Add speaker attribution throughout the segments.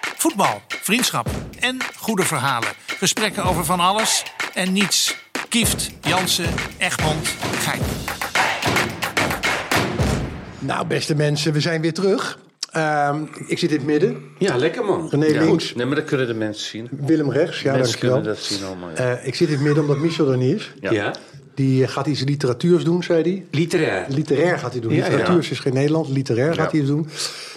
Speaker 1: Voetbal, vriendschap en goede verhalen. Gesprekken over van alles en niets. Kieft, Jansen, Egmond, Gein.
Speaker 2: Nou, beste mensen, we zijn weer terug. Ehm, ik zit in het midden.
Speaker 3: Ja, lekker man.
Speaker 2: René
Speaker 3: ja.
Speaker 2: links.
Speaker 3: Nee, maar dat kunnen de mensen zien.
Speaker 2: Willem rechts, ja,
Speaker 3: mensen
Speaker 2: dankjewel.
Speaker 3: kunnen dat zien allemaal. Ja.
Speaker 2: Eh, ik zit in het midden omdat Michel er niet is.
Speaker 3: ja.
Speaker 2: Die eh, gaat iets literatuurs doen, zei hij.
Speaker 3: Literair.
Speaker 2: Literair gaat hij doen.
Speaker 3: Ja, ja.
Speaker 2: Literatuurs is geen Nederland, literair
Speaker 3: Ja.
Speaker 2: gaat hij doen.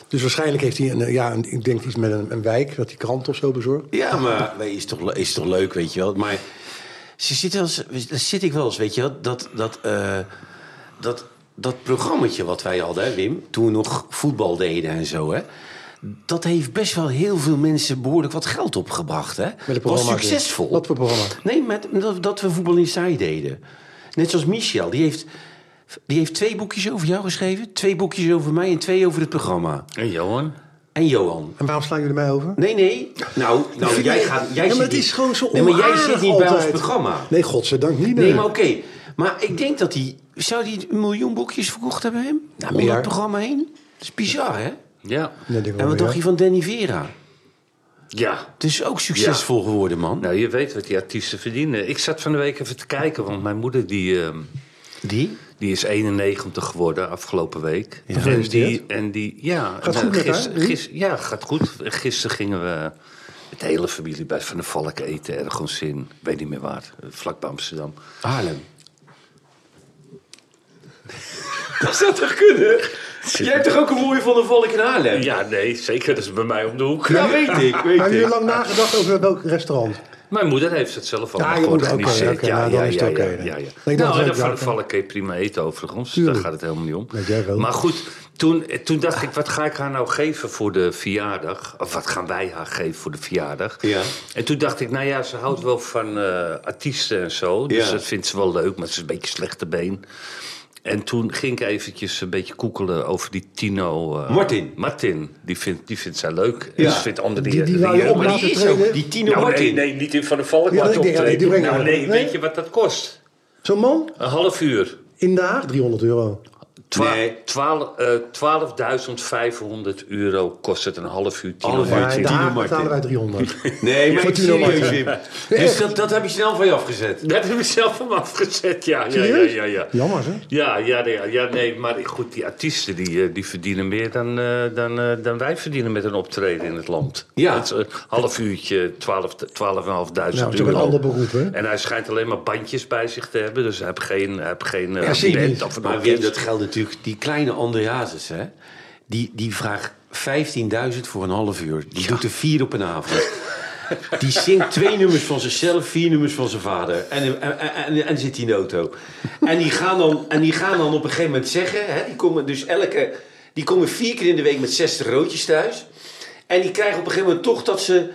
Speaker 2: Dus waarschijnlijk heeft hij een, eh, ja, een- ik denk iets met een, een wijk, dat hij krant of zo bezorgt.
Speaker 3: Ja, maar maar is toch, le- is toch leuk, weet je wel. Maar ze zit wel eens, daar zit ik wel eens, weet je wel. Dat, dat, eh, dat, dat programmaatje wat wij hadden, hè, Wim, toen we nog voetbal deden en zo, hè. Dat heeft best wel heel veel mensen behoorlijk wat geld opgebracht, hè.
Speaker 2: Met het
Speaker 3: was
Speaker 2: programma.
Speaker 3: succesvol.
Speaker 2: Wat voor programma?
Speaker 3: Nee, met, dat, dat we voetbal in saai deden. Net zoals Michel, die heeft, die heeft twee boekjes over jou geschreven... twee boekjes over mij en twee over het programma.
Speaker 4: En Johan?
Speaker 3: En Johan.
Speaker 2: En waarom slaan jullie mij over?
Speaker 3: Nee, nee. Nou, nou jij gaat... Jij
Speaker 2: ja, maar
Speaker 3: zit
Speaker 2: het
Speaker 3: niet-
Speaker 2: is gewoon zo
Speaker 3: Nee, maar jij
Speaker 2: onaardig
Speaker 3: zit niet bij ons
Speaker 2: altijd.
Speaker 3: programma.
Speaker 2: Nee, godzijdank niet.
Speaker 3: Nee,
Speaker 2: nee.
Speaker 3: maar oké. Maar ik denk dat hij... Zou die een miljoen boekjes verkocht hebben, hem? Nou, om
Speaker 2: Meer.
Speaker 3: dat programma heen? Dat is bizar, hè?
Speaker 4: Ja.
Speaker 2: Nee, denk ik
Speaker 3: En
Speaker 2: wel,
Speaker 3: wat dacht
Speaker 2: ja.
Speaker 3: je van Danny Vera?
Speaker 4: Ja.
Speaker 3: Het is ook succesvol geworden, man.
Speaker 4: Nou, je weet wat die artiesten verdienen. Ik zat van de week even te kijken, want mijn moeder die, ehm,
Speaker 3: Die?
Speaker 4: die is 91 geworden afgelopen week. en die,
Speaker 2: Gefeliciteerd.
Speaker 4: en die, ja. nou,
Speaker 2: Gaat goed met haar, Rie?
Speaker 4: Ja, gaat goed. Gisteren gingen we met de hele familie bij Van der Valk eten ergens in, weet niet meer waar, eh, vlak bij Amsterdam.
Speaker 3: Haarlem. dat zou toch kunnen? Jij hebt toch ook een mooie van de valk in Haarlem?
Speaker 4: Ja, nee, zeker. Dat is bij mij om de hoek.
Speaker 3: Ja, weet ik, weet
Speaker 2: Hebben
Speaker 3: ik.
Speaker 2: jullie lang nagedacht over welk restaurant?
Speaker 4: Mijn moeder heeft het zelf
Speaker 2: Ja,
Speaker 4: allemaal
Speaker 2: je moeder,
Speaker 4: georganiseerd.
Speaker 2: oké, oké, nou, dan is het oké
Speaker 4: ja,
Speaker 2: dan.
Speaker 4: ja, ja.
Speaker 2: Ik dacht
Speaker 4: Nou,
Speaker 2: dat
Speaker 4: en dan
Speaker 2: ik
Speaker 4: van
Speaker 2: dacht,
Speaker 4: de Valk eet prima eten overigens.
Speaker 2: Tuurlijk.
Speaker 4: Daar gaat het helemaal niet om.
Speaker 2: Weet jij wel.
Speaker 4: Maar goed, toen, eh, toen dacht ik, wat ga ik haar nou geven voor de verjaardag? Of wat gaan wij haar geven voor de verjaardag?
Speaker 3: Ja.
Speaker 4: En toen dacht ik, nou ja, ze houdt wel van eh, artiesten en zo. Dus
Speaker 3: Ja.
Speaker 4: dat vindt ze wel leuk, maar ze is een beetje slechte been. En toen ging ik eventjes een beetje koekelen over die Tino... eh,
Speaker 3: Martin.
Speaker 4: Martin, die vindt, die vindt zij leuk. En
Speaker 3: Ja.
Speaker 4: ze vindt andere
Speaker 2: Die- die wou je
Speaker 3: Oh, maar die
Speaker 2: Laten
Speaker 3: is
Speaker 2: treden.
Speaker 3: ook, die Tino
Speaker 4: nou,
Speaker 3: Martin.
Speaker 4: Nee, nee, niet in Van de Valk.
Speaker 2: Ja,
Speaker 4: maar
Speaker 2: ik denk, ja, nee, die
Speaker 4: optreden.
Speaker 2: brengen
Speaker 4: nou,
Speaker 2: we
Speaker 4: nee,
Speaker 2: niet.
Speaker 4: weet
Speaker 2: Nee.
Speaker 4: je wat dat kost?
Speaker 2: Zo'n man
Speaker 4: Een half uur.
Speaker 2: in Den Haag, 300 euro.
Speaker 4: Twa-
Speaker 3: Nee.
Speaker 4: twaal- eh, 12.500 euro kost het een half uur. Tino
Speaker 3: Half uur.
Speaker 4: Martin.
Speaker 2: Ja, in Den
Speaker 3: Tino
Speaker 2: Haag
Speaker 3: Martin.
Speaker 2: betalen wij 300.
Speaker 3: Nee, maar ik
Speaker 2: Fortuna
Speaker 3: serieus,
Speaker 2: Martin.
Speaker 3: Wim. Dus dat, dat heb je snel van je afgezet.
Speaker 4: Dat heb ik zelf hem afgezet, ja. Ja, ja,
Speaker 2: Serieus?
Speaker 4: ja, ja.
Speaker 2: Jammer, hè?
Speaker 4: Ja, ja, ja, ja, nee, maar goed, die artiesten die, eh, die verdienen meer dan, eh, dan, eh, dan wij verdienen met een optreden in het land.
Speaker 3: Ja.
Speaker 4: Dat is eh, een half uurtje, 12 12.500
Speaker 2: Nou, dat is ook
Speaker 4: euro.
Speaker 2: een ander beroep, hè?
Speaker 4: En hij schijnt alleen maar bandjes bij zich te hebben, dus hij heeft geen, hij heeft geen eh,
Speaker 2: Ja, zie je
Speaker 4: band
Speaker 2: niet.
Speaker 4: of een
Speaker 3: Maar Wim,
Speaker 4: orkest.
Speaker 3: dat geldt natuurlijk. Die kleine André Hazes, hè. Die, die vraagt 15.000 voor een half uur. Die doet er vier op een avond. Die zingt twee nummers van zichzelf, vier nummers van zijn vader. En, en, en, en, en zit hij in de auto. En die gaan dan, en die gaan dan op een gegeven moment zeggen... Hè, die, komen dus elke, die komen vier keer in de week met 60 roodjes thuis. En die krijgen op een gegeven moment toch dat ze...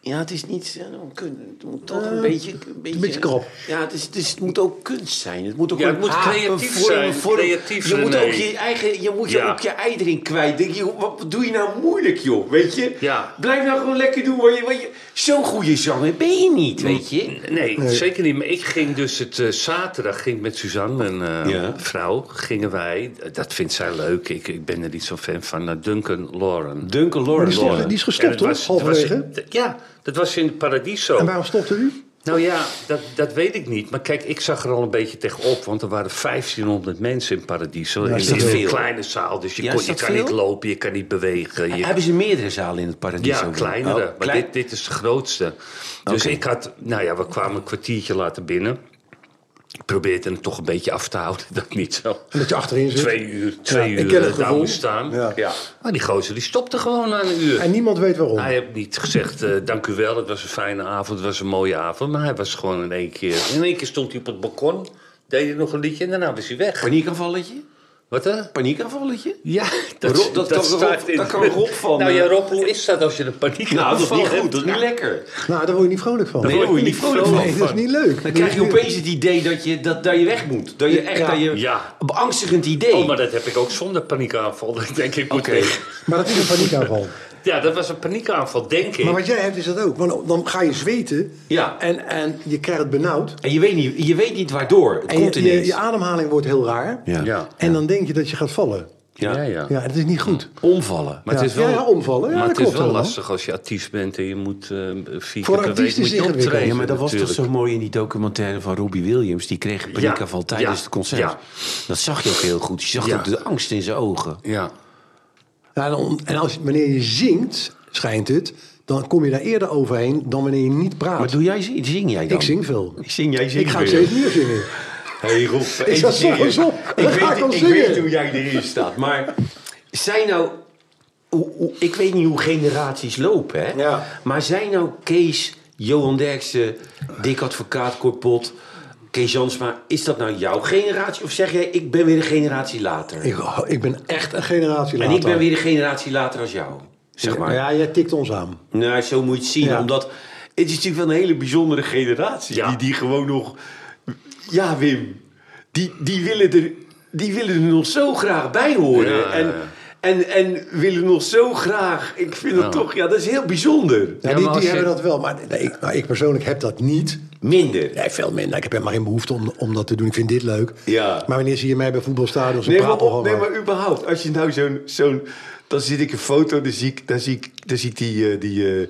Speaker 3: Ja, het is niet... ja, nou, kun- Het moet toch een beetje... Een beetje,
Speaker 2: beetje krap.
Speaker 3: Ja, het, is, het, is, het moet ook kunst zijn. Het moet ook
Speaker 4: Ja, het
Speaker 3: een
Speaker 4: moet
Speaker 3: haap,
Speaker 4: creatief
Speaker 3: een vorm,
Speaker 4: zijn,
Speaker 3: een vorm.
Speaker 4: creatief,
Speaker 3: je moet
Speaker 4: René.
Speaker 3: ook je eigen... Je moet je
Speaker 4: Ja.
Speaker 3: ook je ei erin kwijt. Denk je, joh, wat doe je nou moeilijk, joh? Weet je?
Speaker 4: Ja.
Speaker 3: Blijf nou gewoon lekker doen. Wat je, wat je, Zo'n goede zanger ben je niet, weet je?
Speaker 4: Nee, zeker niet. Maar ik ging dus het eh, zaterdag ging ik met Suzanne, mijn eh,
Speaker 3: Ja.
Speaker 4: vrouw, gingen wij. Dat vindt zij leuk. Ik, ik ben er niet zo'n fan van. Naar Duncan Lauren.
Speaker 3: Duncan
Speaker 2: Maar die,
Speaker 3: Lawrence.
Speaker 2: is toch- die is
Speaker 4: En
Speaker 2: gestopt,
Speaker 4: het
Speaker 2: toch?
Speaker 4: was- het was-
Speaker 2: Halverwege.
Speaker 4: d- ja, dat was in Paradiso.
Speaker 2: En waarom stopte u?
Speaker 4: Nou ja, dat, dat weet ik niet. Maar kijk, ik zag er al een beetje tegenop. Want er waren 1500 mensen in Paradiso.
Speaker 2: is
Speaker 4: in
Speaker 2: dat
Speaker 4: een
Speaker 3: veel?
Speaker 4: kleine zaal. Dus je,
Speaker 3: Ja,
Speaker 4: kon,
Speaker 3: is
Speaker 4: je
Speaker 3: dat
Speaker 4: kan
Speaker 3: veel?
Speaker 4: niet lopen, je kan niet bewegen. Je
Speaker 3: Hebben ze meerdere zalen in het paradies?
Speaker 4: ja,
Speaker 3: ook?
Speaker 4: kleinere.
Speaker 3: Oh,
Speaker 4: maar
Speaker 3: klein-
Speaker 4: dit, dit is de grootste. Dus
Speaker 3: Oké.
Speaker 4: ik had, nou ja, we kwamen een kwartiertje later binnen. Ik probeerde het toch een beetje af te houden, dat niet zo.
Speaker 2: En dat je achterin zit.
Speaker 4: Twee uur, twee
Speaker 2: ik
Speaker 4: uur
Speaker 2: ken het
Speaker 4: eh, daar
Speaker 2: gevoel.
Speaker 4: moest staan.
Speaker 2: Ja.
Speaker 4: Maar die gozer die stopte gewoon na een uur.
Speaker 2: En niemand weet waarom.
Speaker 4: Hij heeft niet gezegd, eh, dank u wel, het was een fijne avond, het was een mooie avond. Maar hij was gewoon in één keer... In één keer stond hij op het balkon, deed hij nog een liedje en daarna was hij weg.
Speaker 3: Paniekaanvalletje?
Speaker 4: Wat hè?
Speaker 3: Paniekaanvalletje?
Speaker 4: Ja,
Speaker 3: Rob, dat kan
Speaker 4: staat
Speaker 3: Rob- dat kan Rob van,
Speaker 4: Nou
Speaker 3: eh,
Speaker 4: ja, Rob, hoe is dat als je een paniek
Speaker 3: Nou, dat is niet goed. Dat is niet lekker.
Speaker 2: Nou, daar word je niet vrolijk van.
Speaker 3: Nee, daar word je niet vrolijk van.
Speaker 2: Nee, dat is niet leuk.
Speaker 3: Dan krijg je opeens het idee dat je, dat, dat je weg moet. Dat je echt,
Speaker 2: Ja.
Speaker 3: dat je...
Speaker 4: Ja.
Speaker 3: Een beangstigend idee.
Speaker 4: Oh, maar dat heb ik ook zonder paniekaanval. Ik denk, ik moet
Speaker 3: Oké.
Speaker 4: weg.
Speaker 2: Maar dat is een paniekaanval.
Speaker 4: Ja, dat was een paniekaanval, denk ik.
Speaker 2: Maar wat jij hebt is dat ook. Want dan ga je zweten
Speaker 3: Ja.
Speaker 2: en, en je krijgt het benauwd.
Speaker 3: En je weet niet, je weet niet waardoor. Het
Speaker 2: En
Speaker 3: komt
Speaker 2: je, je,
Speaker 3: ineens.
Speaker 2: je ademhaling wordt heel raar.
Speaker 3: Ja.
Speaker 4: Ja.
Speaker 2: En dan denk je dat je gaat vallen.
Speaker 4: Ja, ja.
Speaker 2: Ja, dat is niet goed.
Speaker 3: Omvallen.
Speaker 4: Maar het
Speaker 2: Ja.
Speaker 4: is wel,
Speaker 2: Ja, ja, omvallen. Ja,
Speaker 4: maar
Speaker 2: dat
Speaker 4: het is
Speaker 2: klopt
Speaker 4: wel
Speaker 2: allemaal.
Speaker 4: lastig als je artiest bent en je moet eh vier
Speaker 2: Voor
Speaker 4: keer per week
Speaker 2: artiesten
Speaker 4: moet
Speaker 2: is
Speaker 4: je
Speaker 2: ingewikkeld.
Speaker 4: optreden.
Speaker 3: Ja, maar dat was toch
Speaker 4: natuurlijk.
Speaker 3: zo mooi in die documentaire van Robbie Williams. Die kreeg paniekaanval
Speaker 4: Ja,
Speaker 3: tijdens
Speaker 4: ja,
Speaker 3: het concert.
Speaker 4: ja.
Speaker 3: Dat zag je ook heel goed. Je zag
Speaker 4: Ja.
Speaker 3: ook de angst in zijn ogen.
Speaker 4: Ja,
Speaker 2: Ja, en om- en als, wanneer je zingt, schijnt het, dan kom je daar eerder overheen dan wanneer je niet praat.
Speaker 3: Maar doe jij, zing jij dan?
Speaker 2: ik zing veel.
Speaker 3: Ik zing, jij zingt
Speaker 2: Ik ga
Speaker 3: weer.
Speaker 2: steeds meer zingen.
Speaker 3: Hey Rob, even
Speaker 2: zat
Speaker 3: serieus.
Speaker 2: s'morgens op.
Speaker 3: Ik,
Speaker 2: Dan ga ik al
Speaker 3: weet, ik
Speaker 2: zingen.
Speaker 3: weet hoe jij erin staat. Maar zijn nou... hoe- hoe- ik weet niet hoe generaties lopen, hè?
Speaker 2: Ja.
Speaker 3: Maar zijn nou Kees, Johan Derksen, Dick Advocaat, Korpot, Kees Jansma... Is dat nou jouw generatie? Of zeg jij, ik ben weer een generatie later?
Speaker 2: Ik, oh, ik ben echt een generatie
Speaker 3: en
Speaker 2: later.
Speaker 3: ik ben weer een generatie later als jou, zeg maar.
Speaker 2: Ja, jij tikt ons aan.
Speaker 3: Nou, zo moet je het zien,
Speaker 2: Ja.
Speaker 3: omdat... Het is natuurlijk wel een hele bijzondere generatie.
Speaker 4: Ja.
Speaker 3: Die, die gewoon nog... Ja, Wim. Die, die, willen er, die willen er nog zo graag bij horen.
Speaker 4: Ja,
Speaker 3: en,
Speaker 4: ja.
Speaker 3: En, en willen nog zo graag... Ik vind dat toch... Ja, dat is heel bijzonder.
Speaker 2: Ja, die
Speaker 4: Ja, maar
Speaker 2: die
Speaker 4: als je-
Speaker 2: hebben dat wel, maar, nee, ik, maar ik persoonlijk heb dat niet.
Speaker 3: Minder.
Speaker 2: Nee, veel minder. Ik heb helemaal geen behoefte om, om dat te doen. Ik vind dit leuk.
Speaker 3: Ja.
Speaker 2: Maar wanneer zie je mij bij voetbalstadions en
Speaker 3: Nee maar,
Speaker 2: praat
Speaker 3: op,
Speaker 2: nog
Speaker 3: nee,
Speaker 2: over-
Speaker 3: maar überhaupt. Als je nou zo'n... zo'n dan zit ik een foto, dan zie ik, dan zie ik, dan zie ik die, eh, die eh,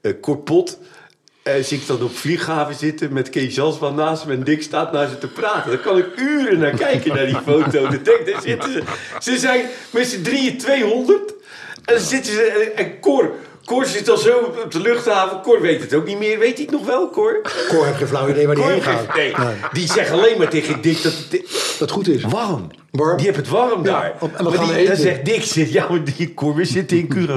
Speaker 3: eh, korpot... eh, zie ik dan op vlieghaven zitten met Kees Jansma naast me en Dick staat naar ze te praten. Dan kan ik uren naar kijken naar die foto. Dan denk ik, daar zitten ze. Ze zijn met z'n drieën 200. En dan zitten ze... En, en Cor, Cor zit al zo op, op de luchthaven. Cor weet het ook niet meer. Weet hij het nog wel, Cor?
Speaker 2: Cor heeft geen flauw idee waar die
Speaker 3: Cor
Speaker 2: heen
Speaker 3: geeft-
Speaker 2: gaat.
Speaker 3: nee, die zeggen alleen maar tegen Dick dat...
Speaker 2: Dat goed is.
Speaker 3: Warm.
Speaker 2: Warm.
Speaker 3: Die hebt het warm
Speaker 2: Ja,
Speaker 3: daar.
Speaker 2: op- en we
Speaker 3: maar
Speaker 2: gaan
Speaker 3: die,
Speaker 2: eten.
Speaker 3: dan zegt Dick, zit, ja, maar die Cor, we zitten in Curaçao.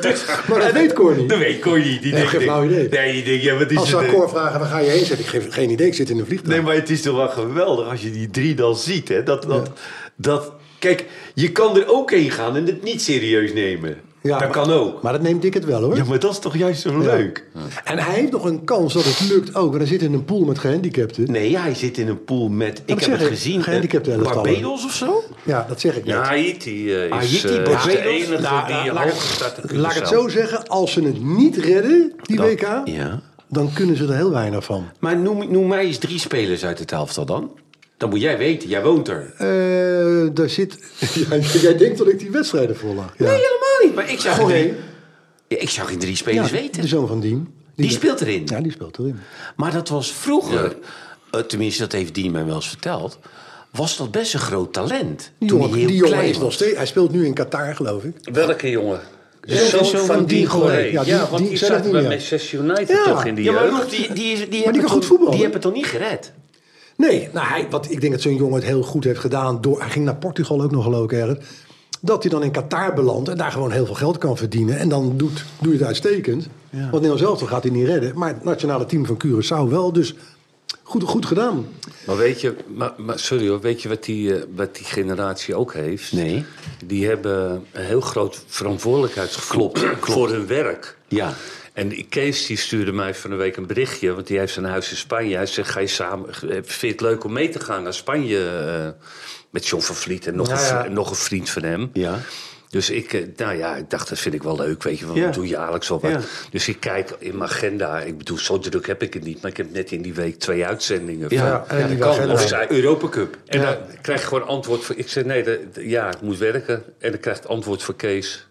Speaker 3: dus,
Speaker 2: Maar dat weet Cor niet.
Speaker 3: dat weet Cor niet.
Speaker 2: Nee,
Speaker 3: Die denkt,
Speaker 2: geen flauw idee.
Speaker 3: Nee, die denkt, ja, wat is
Speaker 2: Als ze
Speaker 3: het?
Speaker 2: aan
Speaker 3: eh?
Speaker 2: Cor vragen, waar ga je heen? Zeg ik, ik geef geen idee, ik zit in een vliegtuig.
Speaker 3: Nee, maar het is toch wel geweldig als je die drie dan ziet. Hè? Dat, dat, dat, kijk, je kan er ook heen gaan en het niet serieus nemen.
Speaker 2: Ja,
Speaker 3: dat
Speaker 2: maar-
Speaker 3: kan ook.
Speaker 2: Maar dat neemt ik het wel hoor.
Speaker 3: Ja, maar dat is toch juist zo
Speaker 2: Ja.
Speaker 3: leuk?
Speaker 2: En hij heeft nog een kans dat het lukt ook. Want hij zit in een pool met gehandicapten.
Speaker 3: Nee, hij zit in een pool met,
Speaker 2: dat
Speaker 3: ik heb
Speaker 2: zeg
Speaker 3: het
Speaker 2: ik,
Speaker 3: gezien,
Speaker 2: gehandicapte
Speaker 3: eh,
Speaker 2: elftallen.
Speaker 3: Barbados of zo?
Speaker 2: Ja, dat zeg ik net.
Speaker 4: ja Haiti eh, is,
Speaker 3: Haiti,
Speaker 4: eh, is de
Speaker 3: Barbados.
Speaker 4: enige
Speaker 3: Nou,
Speaker 4: die
Speaker 3: laat-
Speaker 4: hoger staat te
Speaker 2: Laat ik het
Speaker 4: Curaçao.
Speaker 2: zo zeggen, als ze het niet redden, die
Speaker 3: Dat-
Speaker 2: WK,
Speaker 3: ja.
Speaker 2: dan kunnen ze er heel weinig van.
Speaker 3: Maar noem, noem mij eens drie spelers uit het elftal dan. Dan moet jij weten, jij woont er.
Speaker 2: Eh, daar zit... Ja, jij denkt dat ik die wedstrijden volg. Ja.
Speaker 3: Nee, helemaal niet. Maar ik zou
Speaker 2: Gewoon
Speaker 3: geen
Speaker 2: één.
Speaker 3: drie, ik zou geen drie spelers
Speaker 2: Ja,
Speaker 3: weten.
Speaker 2: De zoon van Diem.
Speaker 3: Die speelt erin.
Speaker 2: Ja, die speelt erin.
Speaker 3: Maar dat was vroeger, eh, tenminste dat heeft Dien mij wel eens verteld... was dat best een groot talent.
Speaker 2: Die
Speaker 3: toen
Speaker 2: jongen,
Speaker 3: hij heel
Speaker 2: die jongen
Speaker 3: klein
Speaker 2: is nog
Speaker 3: was.
Speaker 2: steeds... Hij speelt nu in Qatar, geloof ik.
Speaker 4: Welke jongen? De
Speaker 2: Ja,
Speaker 4: zoon
Speaker 2: de zoon
Speaker 4: van,
Speaker 2: van
Speaker 4: die
Speaker 2: Diego.
Speaker 4: Goré.
Speaker 2: Ja,
Speaker 4: Ja,
Speaker 2: die-
Speaker 4: want
Speaker 2: die-
Speaker 4: die,
Speaker 2: zei dat
Speaker 4: zat
Speaker 2: niet
Speaker 4: bij
Speaker 2: meer.
Speaker 4: Manchester United
Speaker 2: Ja,
Speaker 4: toch in die
Speaker 3: Ja, maar
Speaker 4: jeugd?
Speaker 3: Rob, die, die, is, die, hebben
Speaker 2: kan
Speaker 3: het
Speaker 2: goed
Speaker 3: toch-
Speaker 2: voetballen.
Speaker 3: Die hebben het dan niet gered.
Speaker 2: Nee, nou, hij, wat ik denk dat zo'n jongen het heel goed heeft gedaan. Door, hij ging naar Portugal ook nog geloof ik ergens. Dat hij dan in Qatar belandt en daar gewoon heel veel geld kan verdienen. En dan doet, doe je het uitstekend. Want Nederland zelf gaat hij niet redden. Maar het nationale team van Curaçao wel. Dus goed, goed gedaan.
Speaker 4: Maar weet je, maar, maar sorry hoor, weet je wat die, eh, wat die generatie ook heeft?
Speaker 3: Nee.
Speaker 4: Die hebben een heel groot verantwoordelijkheidsgevoel voor hun werk.
Speaker 3: Ja.
Speaker 4: En die Kees die stuurde mij van de week een berichtje, want die heeft zijn huis in Spanje. Hij zegt, ga je samen, eh, vind je het leuk om mee te gaan naar Spanje eh, met John van Vliet en nog, een, vri- en nog een vriend van hem?
Speaker 3: Ja.
Speaker 4: Dus ik, eh, nou ja, ik dacht, dat vind ik wel leuk, weet je, want
Speaker 3: Ja.
Speaker 4: we doen jaarlijks al wat.
Speaker 3: Ja.
Speaker 4: Dus ik kijk in mijn agenda, ik bedoel, zo druk heb ik het niet, maar ik heb net in die week twee uitzendingen.
Speaker 3: Ja,
Speaker 4: van-
Speaker 2: Ja, en die
Speaker 4: dat kan.
Speaker 2: agenda.
Speaker 4: Of zij,
Speaker 3: Europa Cup.
Speaker 4: en dan krijg je gewoon antwoord van... Ik zei, nee, de- de- ja, ik moet werken. En dan krijgt antwoord van Kees...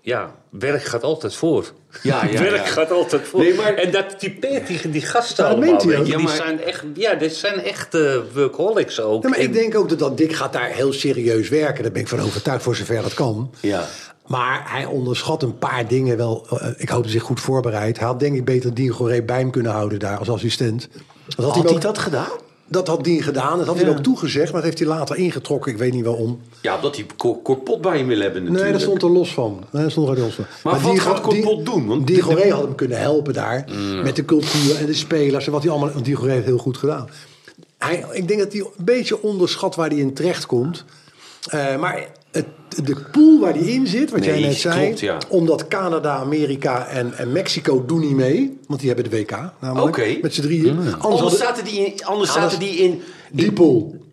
Speaker 4: Ja, werk gaat altijd voor.
Speaker 3: Ja, ja,
Speaker 4: werk
Speaker 3: ja.
Speaker 4: gaat altijd voor.
Speaker 3: Nee, maar-
Speaker 4: En dat typeert die, die gasten
Speaker 2: Ja, Nou, dat
Speaker 4: allemaal.
Speaker 2: meent hij
Speaker 4: weet je.
Speaker 2: ook.
Speaker 4: Die
Speaker 3: Ja, maar-
Speaker 4: zijn echt, ja, dit zijn echt eh, workaholics ook.
Speaker 2: Ja, maar
Speaker 4: En-
Speaker 2: ik denk ook dat, dat Dick gaat daar heel serieus werken. Daar ben ik van overtuigd, voor zover dat kan.
Speaker 3: Ja.
Speaker 2: Maar hij onderschat een paar dingen wel. Eh, Ik hoop dat hij zich goed voorbereidt. Hij had denk ik beter Dien Goré bij hem kunnen houden daar als assistent. Dat
Speaker 3: Had,
Speaker 2: hij
Speaker 3: hij
Speaker 2: ook-
Speaker 3: dat gedaan?
Speaker 2: Dat had Dien gedaan, dat had
Speaker 3: Ja.
Speaker 2: hij ook toegezegd, maar dat heeft hij later ingetrokken. Ik weet niet waarom.
Speaker 3: Ja, omdat hij Cor- Corpot bij hem wil hebben natuurlijk.
Speaker 2: Nee, dat stond er los van. Nee, dat stond er los van.
Speaker 3: Maar wat
Speaker 2: Diego-
Speaker 3: gaat Corpot
Speaker 2: Di-
Speaker 3: doen? Want Mm.
Speaker 2: Diego
Speaker 3: de- de-
Speaker 2: Rey had hem kunnen helpen daar. Met de cultuur en de spelers en wat hij allemaal... Want Diego Rey heeft heel goed gedaan. Hij, ik denk dat hij een beetje onderschat waar hij in terecht komt. Eh, maar het, de pool waar hij in zit, wat jij
Speaker 3: Nee,
Speaker 2: net zei...
Speaker 3: klopt, ja.
Speaker 2: Omdat Canada, Amerika en, en Mexico doen niet mee. Want die hebben de WK namelijk.
Speaker 3: Oké. Mm.
Speaker 2: Met z'n drieën. Anders
Speaker 3: Anders
Speaker 2: hadden-
Speaker 3: zaten die in... Anders
Speaker 2: Anders-
Speaker 3: zaten die in
Speaker 2: die pool.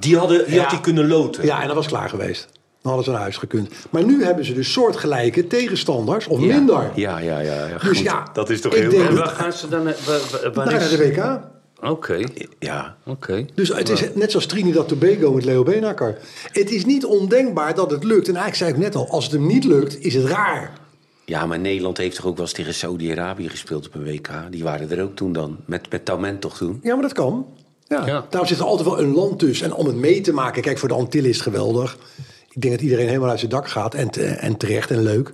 Speaker 3: die, hadden, die
Speaker 2: Ja.
Speaker 3: had hij kunnen loten.
Speaker 2: Ja, en dat was klaar geweest. Dan hadden ze naar huis gekund. Maar nu hebben ze dus soortgelijke tegenstanders, of
Speaker 3: Ja.
Speaker 2: minder.
Speaker 3: Ja, ja, ja. ja.
Speaker 2: Dus
Speaker 3: Goed,
Speaker 2: ja,
Speaker 3: dat is toch
Speaker 2: ik
Speaker 3: heel
Speaker 2: denk
Speaker 4: En
Speaker 3: erg.
Speaker 4: waar gaan ze dan... eh, wa- wa- waar
Speaker 2: Dan ga je
Speaker 4: is-
Speaker 2: naar de WK.
Speaker 4: Oké,
Speaker 3: Ja.
Speaker 4: oké.
Speaker 2: Dus het is net zoals Trinidad Tobago met Leo Benakker. Het is niet ondenkbaar dat het lukt. En eigenlijk zei ik net al, als het hem niet lukt, is het raar.
Speaker 3: ja, maar Nederland heeft toch ook wel eens tegen Saudi-Arabië gespeeld op een WK? Die waren er ook toen dan. Met, met Taument toch toen?
Speaker 2: Ja, maar dat kan. Ja.
Speaker 4: Ja.
Speaker 2: Daarom zit er altijd wel een land tussen. En om het mee te maken, kijk, voor de Antillen is het geweldig. Ik denk dat iedereen helemaal uit zijn dak gaat. En, te- en terecht en leuk.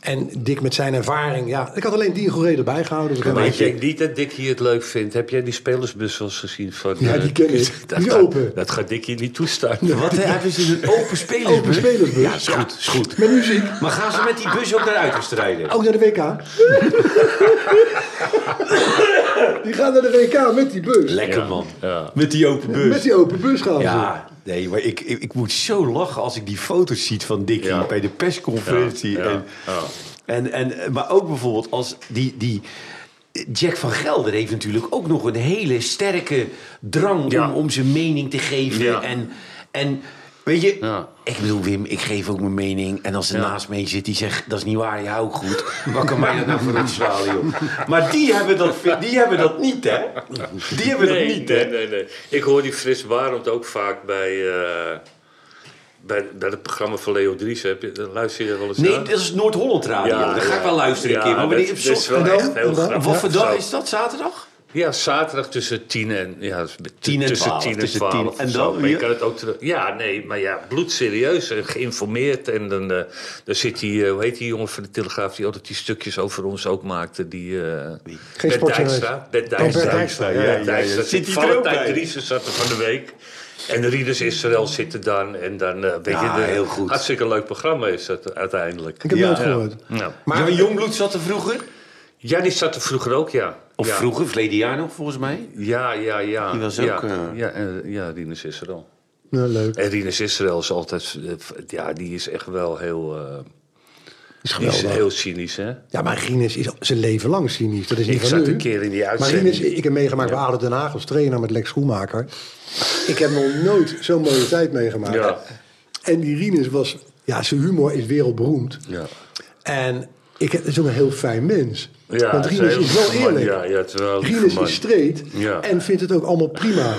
Speaker 2: En Dick met zijn ervaring. Ja, ik had alleen Dien Goeree erbij gehouden. Dus ik
Speaker 4: Maar
Speaker 2: heb
Speaker 4: ik
Speaker 2: een
Speaker 4: denk niet dat Dick hier het leuk vindt. Heb jij die spelersbus wel eens gezien? Van,
Speaker 2: Ja,
Speaker 4: eh,
Speaker 2: die ken ik.
Speaker 4: Dat
Speaker 2: Die is
Speaker 4: gaat-
Speaker 2: open.
Speaker 4: Dat gaat Dick hier niet toestaan.
Speaker 3: Wat? Hij had dus een open spelersbus.
Speaker 2: Open spelersbus.
Speaker 3: Ja, is goed. Is goed.
Speaker 2: Met muziek.
Speaker 3: Maar gaan ze met die bus ook naar uitwedstrijden?
Speaker 2: Ook naar de WK. die gaan naar de WK met die bus.
Speaker 3: Lekker
Speaker 4: Ja.
Speaker 3: man.
Speaker 4: Ja.
Speaker 3: Met die open bus.
Speaker 2: Met die open bus gaan ze.
Speaker 3: Ja, nee, maar ik, ik, ik moet zo lachen als ik die foto's ziet van Dickie
Speaker 4: Ja.
Speaker 3: bij de persconferentie.
Speaker 4: Ja, ja,
Speaker 3: en, En, en, maar ook bijvoorbeeld als die, die. Jack van Gelder heeft natuurlijk ook nog een hele sterke drang
Speaker 4: Ja.
Speaker 3: om, om zijn mening te geven.
Speaker 4: Ja.
Speaker 3: En, en weet je,
Speaker 4: Ja.
Speaker 3: ik bedoel, Wim, ik geef ook mijn mening. En als er naast mij zit die zegt: dat is niet waar, je houdt goed. Wat kan mij dat nou voor ontzwalen, joh? Maar die hebben dat, die hebben dat niet, hè? Die hebben dat
Speaker 4: Nee,
Speaker 3: niet,
Speaker 4: nee,
Speaker 3: hè?
Speaker 4: nee, nee. Ik hoor die Frits Barend ook vaak bij, eh, bij, bij het programma van Leo Dries. Heb je, dan luister je er wel eens
Speaker 3: Nee,
Speaker 4: naar?
Speaker 3: dat is Noord-Holland Radio. Daar ga ik wel luisteren een
Speaker 4: Ja,
Speaker 3: keer. Maar
Speaker 4: dat,
Speaker 3: wanneer op
Speaker 4: dat is
Speaker 3: zondag-
Speaker 4: wel
Speaker 2: En dan?
Speaker 4: echt heel
Speaker 2: En dan?
Speaker 4: grappig.
Speaker 3: Wat voor dag
Speaker 4: Zo.
Speaker 3: is dat? Zaterdag?
Speaker 4: Ja, zaterdag tussen 10 en ja, t-
Speaker 3: Tien en
Speaker 4: tussen
Speaker 3: twaalf,
Speaker 4: 10 en
Speaker 3: tussen
Speaker 4: 12.
Speaker 3: tien. En
Speaker 4: en
Speaker 3: dan
Speaker 4: dan, maar je
Speaker 3: weer?
Speaker 4: kan het ook terug. Ja, nee, maar ja, bloedserieus en geïnformeerd. En dan, eh, dan zit die, eh, hoe heet die jongen van de Telegraaf die altijd die stukjes over ons ook maakte? Die, eh Bert
Speaker 2: sportjournalist.
Speaker 4: Dijkstra. Bert
Speaker 2: Bert
Speaker 4: Dijkstra.
Speaker 2: Dijkstra, ja,
Speaker 4: Bert
Speaker 3: ja,
Speaker 4: Dijkstra.
Speaker 3: ja. Zit die er ook bij?
Speaker 4: Valentijn Driessen zat er van de week. En Rieders Israël zitten dan. En dan, eh weet
Speaker 3: Ja,
Speaker 4: je, de,
Speaker 3: heel goed.
Speaker 4: hartstikke leuk programma is dat uiteindelijk.
Speaker 2: Ik heb
Speaker 3: Ja.
Speaker 2: nooit gehoord.
Speaker 4: Nou.
Speaker 3: Maar Jan Jongbloed zat er vroeger?
Speaker 4: Ja, die zat er vroeger ook, ja.
Speaker 3: Of
Speaker 4: ja.
Speaker 3: vroeger, verleden jaar nog volgens mij.
Speaker 4: Ja, ja, ja.
Speaker 3: Die was
Speaker 4: ja,
Speaker 3: ook, eh,
Speaker 4: Ja, eh, ja, Rinus Israël.
Speaker 2: Nou, leuk.
Speaker 4: En Rinus Israël is altijd... eh, f- Ja, die is echt wel heel... eh,
Speaker 2: Is
Speaker 4: die is
Speaker 2: geweldig.
Speaker 4: heel cynisch, hè?
Speaker 2: Ja, maar Guinness is zijn leven lang cynisch. Dat is niet
Speaker 4: Ik
Speaker 2: van
Speaker 4: zat
Speaker 2: nu.
Speaker 4: een keer in die
Speaker 2: Maar Guinness,
Speaker 4: uitzending.
Speaker 2: ik heb meegemaakt bij ADO Den Haag als trainer met Lex Schoenmaker. Ik heb nog nooit zo'n mooie tijd meegemaakt.
Speaker 4: Ja.
Speaker 2: En die Rinus was... Ja, zijn humor is wereldberoemd.
Speaker 4: Ja.
Speaker 2: En ik, het is ook een heel fijn mens.
Speaker 4: Ja,
Speaker 2: Want
Speaker 4: het is
Speaker 2: Rinus
Speaker 4: een
Speaker 2: is
Speaker 4: heel
Speaker 2: wel
Speaker 4: lieve man.
Speaker 2: eerlijk.
Speaker 4: Ja, ja, het is wel een lieve
Speaker 2: Rinus
Speaker 4: man.
Speaker 2: is streed
Speaker 4: Ja.
Speaker 2: en vindt het ook allemaal prima.